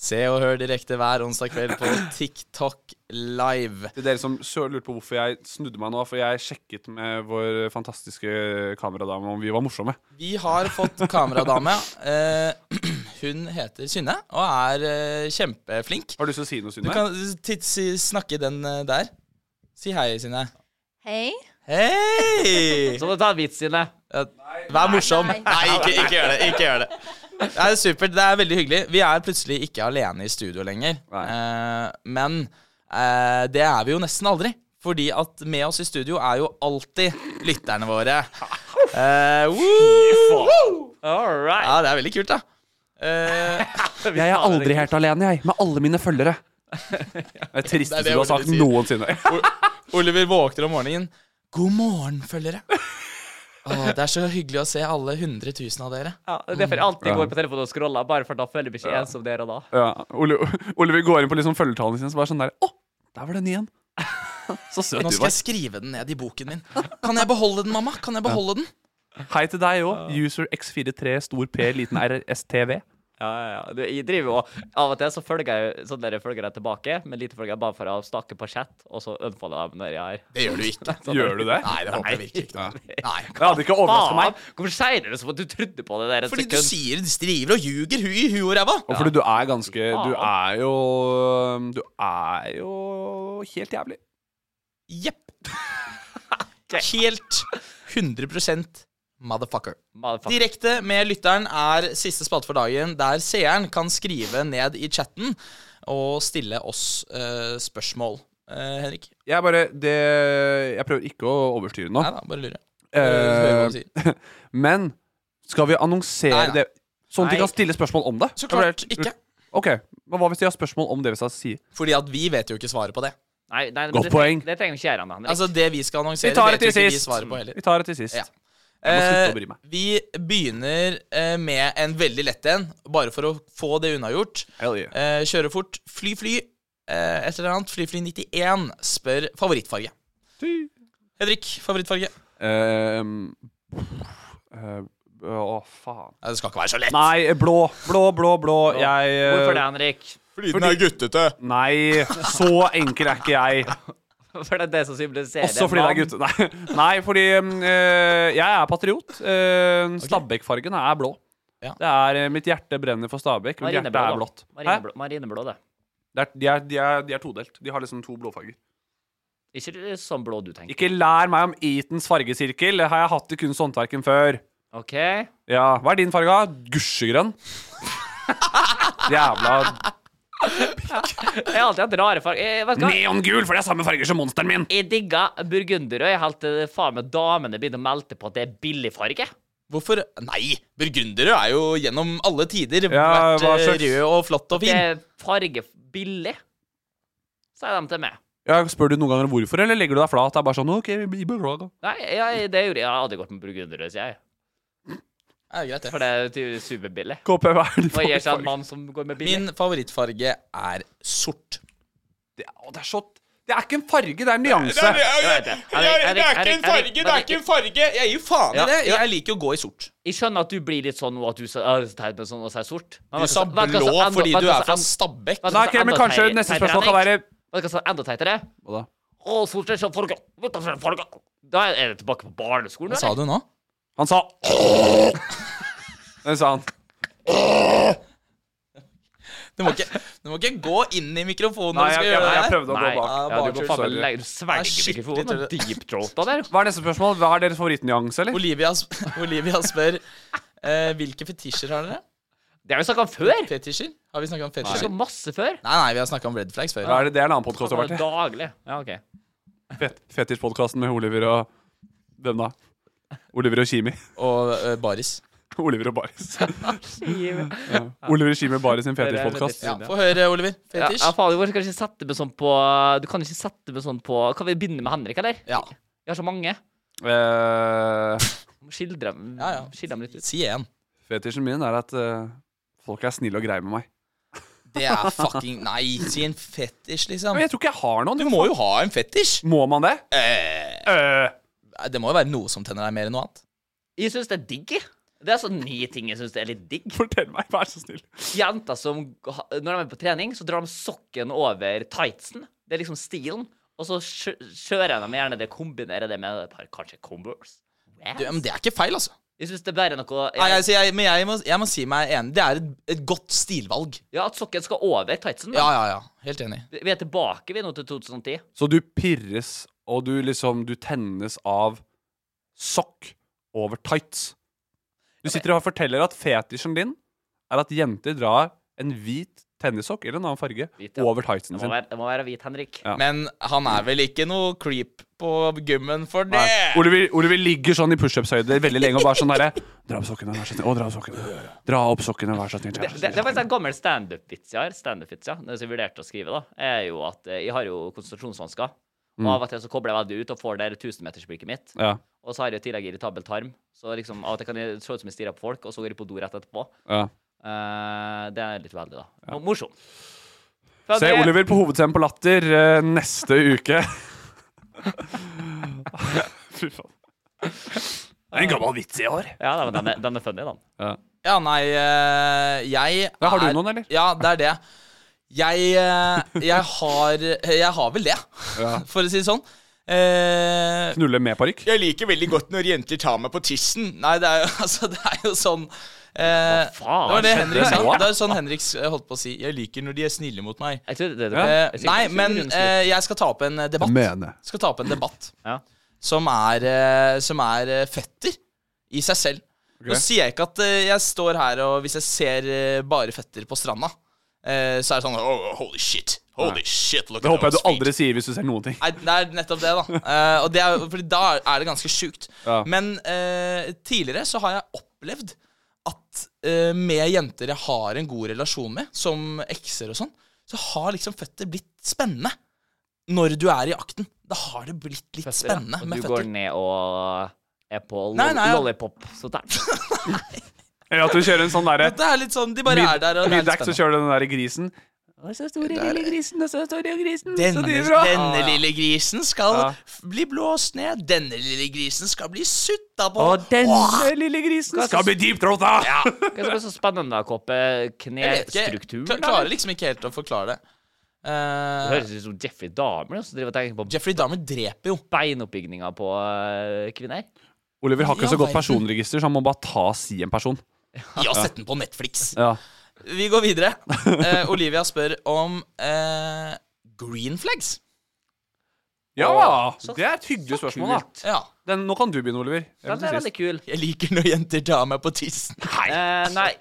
Speaker 1: Se og hør direkte hver onsdag kveld på TikTok Live.
Speaker 3: Til dere som så lurte på hvorfor jeg snudde meg nå, for jeg sjekket med vår fantastiske kameradame om vi var morsomme.
Speaker 1: Vi har fått kameradame. Eh, hun heter Synne og er eh, kjempeflink.
Speaker 3: Har du lyst til å si noe,
Speaker 1: Du
Speaker 3: Synne?
Speaker 1: kan titt- si, snakke den eh, der. Si hei, Synne.
Speaker 8: Hei.
Speaker 1: Hei!
Speaker 4: Så må du ta en vits inne.
Speaker 1: Ja, Vær morsom.
Speaker 8: Nei.
Speaker 1: Nei, ikke, ikke gjør det. Ikke gjør det. Det er supert. Det er veldig hyggelig. Vi er plutselig ikke alene i studio lenger. Eh, men eh, det er vi jo nesten aldri. Fordi at med oss i studio er jo alltid lytterne våre. Eh, woo!
Speaker 4: All right.
Speaker 1: Ja, det er veldig kult, da. Eh,
Speaker 3: Jeg er aldri helt alene, jeg, med alle mine følgere. Det er tristeste
Speaker 1: Det er det
Speaker 3: du har
Speaker 1: ordet
Speaker 3: sagt
Speaker 1: du sier.
Speaker 3: noensinne.
Speaker 1: Oliver våkner om morgenen. God morgen, følgere. Å, det er så hyggelig å se alle 100 000 av dere.
Speaker 4: Ja, det er derfor jeg alltid går på telefonen og scroller, bare for da føler jeg meg ikke ensom der og da.
Speaker 3: Ja, Ole, Oliver går inn på liksom følgetallene sine, så bare sånn der Å, der var den igjen. Så søt
Speaker 1: Nå
Speaker 3: du
Speaker 1: skal
Speaker 3: var.
Speaker 1: jeg skrive den ned i boken min. Kan jeg beholde den, mamma? Kan jeg beholde den?
Speaker 3: Hei til deg òg. User x43 stor P liten RSTV.
Speaker 4: Ja, ja, ja. Du, Jeg driver jo og Av og til så følger jeg jo sånne der følgere tilbake, men lite følger jeg bare for å snakke på chat, og så unfolder jeg dem når jeg er
Speaker 1: Det gjør du ikke.
Speaker 3: Gjør du det?
Speaker 1: Nei, det håper jeg virkelig ikke. Nei,
Speaker 3: Det hadde ikke overraska
Speaker 4: Faen!
Speaker 3: meg.
Speaker 4: Hvorfor sier du det som at du trodde på det der et
Speaker 1: Fordi du
Speaker 4: sekund?
Speaker 1: sier du driver og ljuger hu i huet og ræva.
Speaker 3: Og fordi du er ganske Du er jo Du er jo helt jævlig.
Speaker 1: Jepp. Helt 100 motherfucker.
Speaker 4: Motherfucker.
Speaker 1: Direkte med lytteren er siste spalte for dagen, der seeren kan skrive ned i chatten og stille oss eh, spørsmål. Eh, Henrik?
Speaker 3: Jeg bare det, Jeg prøver ikke å overstyre nå.
Speaker 1: Nei da, bare lurer. Hører hva du sier.
Speaker 3: Eh, men skal vi annonsere
Speaker 1: Nei, nei.
Speaker 3: det Sånn at de
Speaker 4: Nei.
Speaker 3: kan stille spørsmål om det?
Speaker 1: Så klart ikke.
Speaker 3: Ok, men Hva hvis de har spørsmål om det vi skal si?
Speaker 1: Fordi at vi vet jo ikke svaret på det.
Speaker 4: Nei, nei, men
Speaker 3: Godt
Speaker 4: det,
Speaker 3: poeng.
Speaker 4: Det trenger ikke jeg ennå, Henrik.
Speaker 1: Altså Det vi skal
Speaker 3: Vi
Speaker 1: annonsere,
Speaker 3: tar det
Speaker 1: vet jo
Speaker 3: til
Speaker 1: ikke vi
Speaker 3: sist.
Speaker 1: svaret på heller.
Speaker 3: Vi tar det til sist.
Speaker 1: Ja.
Speaker 3: Jeg må slutte å
Speaker 1: Eh,
Speaker 3: bry meg.
Speaker 1: vi begynner eh, med en veldig lett en, bare for å få det unnagjort.
Speaker 3: Hell
Speaker 1: Eh,
Speaker 3: yeah.
Speaker 1: kjøre fort. Fly, fly. Eh, et eller annet. Fly, fly 91 spør favorittfarge.
Speaker 3: Ty.
Speaker 1: Henrik, favorittfarge?
Speaker 3: Ehm, eh, Å, faen.
Speaker 1: Nei, det skal ikke være så lett.
Speaker 3: Nei, blå. Blå, blå, blå. Jeg eh,
Speaker 4: Hvorfor det, Henrik?
Speaker 5: Fordi den er guttete.
Speaker 3: Nei, så enkel er ikke jeg.
Speaker 4: For det er det som symboliserer
Speaker 3: Også fordi det er gutte... Nei, nei fordi mm, eh, jeg er patriot. Uh, Stabæk-fargen er blå.
Speaker 1: Ja.
Speaker 3: Det er eh, Mitt hjerte brenner for Stabæk. Mitt hjerte
Speaker 4: Marineblå,
Speaker 3: er
Speaker 4: da.
Speaker 3: blått. Hæ?
Speaker 4: Marineblå, marineblå, det.
Speaker 3: Det er, de, er, de, er, de er todelt. De har liksom to blåfarger.
Speaker 4: Ikke det sånn blå du tenker.
Speaker 3: Ikke lær meg om Eatons fargesirkel. Det har jeg hatt i kunst- og håndverken før.
Speaker 4: OK?
Speaker 3: Ja, Hva er din farge? da? Gusjegrønn? Jævla
Speaker 4: Jeg har alltid hatt rare farger. Jeg, vet du hva?
Speaker 3: neongul, for det er samme farger som monsteren min!
Speaker 4: jeg digga burgunder, og jeg helt til faen meg damene begynte å melde på at det er billig farge.
Speaker 1: Hvorfor? Nei, burgundere er jo gjennom alle tider
Speaker 3: Ja,
Speaker 1: vært
Speaker 3: hva
Speaker 1: eh,
Speaker 3: slags-
Speaker 1: rød og flott og
Speaker 4: Det
Speaker 1: fin.
Speaker 4: er farge billig, sier de til meg.
Speaker 3: Ja, Spør du noen ganger hvorfor, eller legger du deg flat? Det er bare sånn OK, vi beklager.
Speaker 4: Nei, jeg, det gjorde jeg. Jeg hadde gått med burgunder, sier jeg.
Speaker 1: Ja, greit,
Speaker 4: For
Speaker 1: det.
Speaker 4: det er jo superbillig.
Speaker 3: KP, hva er din
Speaker 4: Og jeg er ikke en
Speaker 3: favorittfarge?
Speaker 4: mann som går med billig.
Speaker 1: Min favorittfarge er sort.
Speaker 3: Det, å, det er så Det er ikke en farge, det er en
Speaker 5: Det
Speaker 3: nyanse.
Speaker 5: er, det, er, det, er, det er ikke en farge, det er ikke en farge! Jeg gir faen i det. Jeg
Speaker 1: liker jo å gå i sort.
Speaker 4: Jeg skjønner at du blir litt sånn nå at du sa «Ja, det er teit med sånn og sier sort. Men
Speaker 1: Du
Speaker 4: vet
Speaker 1: sa
Speaker 4: hva- vet hva som
Speaker 1: blå
Speaker 4: enda-
Speaker 1: fordi
Speaker 4: vet
Speaker 1: du
Speaker 4: hva
Speaker 1: er
Speaker 4: som
Speaker 1: fra
Speaker 4: en-
Speaker 1: Stabekk.
Speaker 4: vet hva
Speaker 3: Nei,
Speaker 4: som
Speaker 3: ok, men
Speaker 4: enda
Speaker 3: kanskje
Speaker 4: teit-
Speaker 3: neste
Speaker 4: teitere,
Speaker 3: spørsmål kan
Speaker 4: Henrik?
Speaker 3: være
Speaker 4: Vet du hva som er enda teitere?
Speaker 3: Hva da?
Speaker 4: Å, sort er sånn farge. Vet du hva som er farge. Da er det tilbake på
Speaker 1: Hva
Speaker 4: barneskolen.
Speaker 1: sa
Speaker 4: eller?
Speaker 1: du nå?
Speaker 3: Han sa Det sa han.
Speaker 1: Du må ikke, du må ikke gå inn i mikrofonen
Speaker 3: Nei,
Speaker 1: når du skal
Speaker 3: jeg- jeg-
Speaker 1: gjøre det
Speaker 3: jeg
Speaker 1: her.
Speaker 3: prøvde å gå
Speaker 4: Nei,
Speaker 3: bak.
Speaker 4: ja,
Speaker 1: bare
Speaker 4: du går
Speaker 1: tull,
Speaker 4: faen
Speaker 3: sorry.
Speaker 4: meg lei- Du
Speaker 1: Nei,
Speaker 4: svelger
Speaker 1: skikkelig
Speaker 4: mikrofonen
Speaker 1: tull.
Speaker 4: med deep-throata der.
Speaker 3: Hva er neste spørsmål? Hva er deres favorittnyanse, eller?
Speaker 1: Olivia, sp- Olivia spør eh, hvilke fetisjer har dere?
Speaker 4: Det har vi snakka om før.
Speaker 1: Fetisjer? Har vi snakka om
Speaker 4: Vi
Speaker 1: fetisjer?
Speaker 4: snakket
Speaker 1: Nei,
Speaker 4: om masse før.
Speaker 1: nei, vi har snakka om red flags før.
Speaker 3: Hva er det, det er en annen podkast du har vært i.
Speaker 4: Daglig. Ja, OK.
Speaker 3: Fet, Fetisjpodkasten med Oliver og Hvem da? Oliver og Kimi.
Speaker 1: Og eh, baris.
Speaker 3: Oliver og Baris. Oliver og Kimi og Baris sin fetisjpodkast.
Speaker 1: Ja, Få høre, Oliver.
Speaker 4: Ja,
Speaker 1: Fetisj.
Speaker 4: ja, faen, du kan ikke sette meg sånn på Du kan ikke sette meg sånn på Kan vi begynne med Henrik, eller?
Speaker 1: Ja.
Speaker 4: Vi har så mange.
Speaker 3: Eh,
Speaker 4: Må Skildre dem,
Speaker 1: Ja, ja.
Speaker 4: skildre dem litt ut.
Speaker 1: Si én.
Speaker 3: fetisjen min er at eh, folk er snille og greie med meg.
Speaker 1: Det er fucking Nei, si en fetisj, liksom.
Speaker 3: Men jeg tror ikke jeg har noen.
Speaker 1: Du må jo ha en fetisj.
Speaker 3: Må man det?
Speaker 1: Eh,
Speaker 3: Eh,
Speaker 1: det må jo være noe som tenner deg mer enn noe annet.
Speaker 4: Jeg syns det er digg. jeg. Det er sånn nye ting jeg syns er litt digg.
Speaker 3: fortell meg, vær så snill.
Speaker 4: Jenter som ha- Når de er på trening, så drar de sokken over tightsen. Det er liksom stilen. Og så kjø- kjører de gjerne det, kombinerer det med et par, kanskje Converse. Yes.
Speaker 1: Du, men det er ikke feil, altså.
Speaker 4: Jeg syns det er bare noe
Speaker 1: Nei, altså, jeg, men jeg må, jeg må si meg enig. Det er et, et godt stilvalg.
Speaker 4: Ja, at sokken skal over tightsen.
Speaker 1: Ja,
Speaker 4: da.
Speaker 1: ja, ja. Helt enig.
Speaker 4: Vi er tilbake vi nå til 2010.
Speaker 3: Så du pirres, og du liksom Du tennes av sokk over tights. Du sitter og forteller at fetisjen din er at jenter drar en hvit tennissokk eller en annen farge
Speaker 4: Hvit, ja.
Speaker 3: over tightsen
Speaker 4: Det må
Speaker 3: sin.
Speaker 4: være, det må være hvit, Henrik.
Speaker 3: Ja.
Speaker 1: Men han er vel ikke noe creep på gymmen for det?
Speaker 3: Nei. Oliver, Oliver ligger sånn i pushups-høyde veldig lenge og bare sånn derre Dra opp sokkene, vær så snill. Å, dra opp sokkene. Dra opp sokkene, vær så snill.
Speaker 4: Det, det, det er faktisk
Speaker 1: sånn-
Speaker 4: en gammel standup-vits jeg har. Standup-vits, ja. Når jeg vurderte å skrive, da, er jo at eh, jeg har jo konsentrasjonsvansker. Og
Speaker 1: Mm.
Speaker 4: av og til så kobler jeg veldig ut og får der 1000-metersblikket mitt.
Speaker 3: Ja,
Speaker 4: Og så har jeg i tillegg irritabel tarm. Så liksom av og til kan jeg se ut som jeg stirrer på folk, og så går jeg på do rett etterpå.
Speaker 3: ja.
Speaker 4: Eh, det er litt uheldig, da. Morsom.
Speaker 3: Se
Speaker 4: Henrik,
Speaker 3: Oliver på Hovedscenen på Latter eh, neste uke. Fy faen. Det er en gammel vits i år.
Speaker 4: Ja, nei, men den er, den er funny, den.
Speaker 3: Ja.
Speaker 1: Ja, nei, eh, jeg
Speaker 3: Ja, har du
Speaker 1: er-
Speaker 3: noen, eller?
Speaker 1: Ja, det er det. Jeg, eh, jeg har Jeg har vel det, for å si det sånn. Eh,
Speaker 3: Knulle med parykk?
Speaker 1: jeg liker veldig godt når jenter tar meg på tissen. Nei, det er jo, altså, det er jo sånn eh,
Speaker 4: faen? altså.
Speaker 1: Det var det Henrik sa.
Speaker 3: Hva?
Speaker 1: Det er sånn Henrik s- holdt på å si. Jeg liker når de er snille mot meg.
Speaker 4: Jeg tror det, det,
Speaker 1: Eh,
Speaker 4: jeg tror-
Speaker 1: nei,
Speaker 4: jeg tror
Speaker 1: men
Speaker 4: det er en
Speaker 1: eh, jeg skal ta opp en eh, debatt.
Speaker 6: Mene.
Speaker 1: Skal ta opp en debatt
Speaker 4: Ja.
Speaker 1: som er, eh, som er eh, fetter i seg selv. Nå sier jeg ikke at eh, jeg står her og hvis jeg ser eh, bare fetter på stranda, eh, så er det sånn oh, Holy shit. Holy shit. Look
Speaker 3: Det håper jeg du
Speaker 1: those feet."
Speaker 3: aldri sier hvis du ser noen ting.
Speaker 1: Nei, det er nettopp det, da. Eh, og det er, jo- fordi da er det ganske sjukt.
Speaker 3: Ja.
Speaker 1: Men eh, tidligere så har jeg opplevd at eh, med jenter jeg har en god relasjon med, som ekser og sånn, så har liksom føtter blitt spennende når du er i akten. Da har det blitt litt
Speaker 4: Føtter, ja.
Speaker 1: spennende
Speaker 4: Og
Speaker 1: med
Speaker 4: du
Speaker 1: føtter.
Speaker 4: går ned og er på lo
Speaker 1: Nei, nei, ja.
Speaker 4: lollipop. Så der.
Speaker 3: Eller at du kjører en sånn derre
Speaker 1: Det er litt sånn, De bare er der, og det er litt
Speaker 3: middag, så
Speaker 1: spennende.
Speaker 3: kjører du den derre grisen.
Speaker 1: Denne, denne lille grisen skal
Speaker 3: Ja.
Speaker 1: f- bli blåst ned. Denne lille grisen skal bli sutta på.
Speaker 4: Og den
Speaker 1: Åh!
Speaker 3: lille grisen skal bli deep throat, da!
Speaker 4: Hva er det som er så spennende, Kåpe?
Speaker 1: Jeg vet ikke.
Speaker 4: Knestrukturen?
Speaker 1: Kla- Klarer liksom ikke helt å forklare det.
Speaker 4: Det
Speaker 1: Eh,
Speaker 4: høres ut som Jeffrey Dahmer som driver og tenker på
Speaker 1: Jeffrey Dahmer dreper jo.
Speaker 4: beinoppbygninga på eh, kvinner.
Speaker 3: Oliver har ikke så
Speaker 1: Ja,
Speaker 3: godt personregister, så han må bare ta og si en person.
Speaker 1: Gi oss sette den på Netflix.
Speaker 3: Ja.
Speaker 1: Vi går videre. Eh, Olivia spør om eh, green flags.
Speaker 4: Så-
Speaker 3: Det er et hyggelig
Speaker 4: så
Speaker 3: spørsmål, da.
Speaker 4: kult.
Speaker 1: Ja.
Speaker 3: Den, nå kan du begynne, Oliver. Jeg vil
Speaker 4: Den er
Speaker 3: sist.
Speaker 4: veldig kul.
Speaker 1: Jeg liker når jenter tar meg på tissen.
Speaker 4: Eh, nei,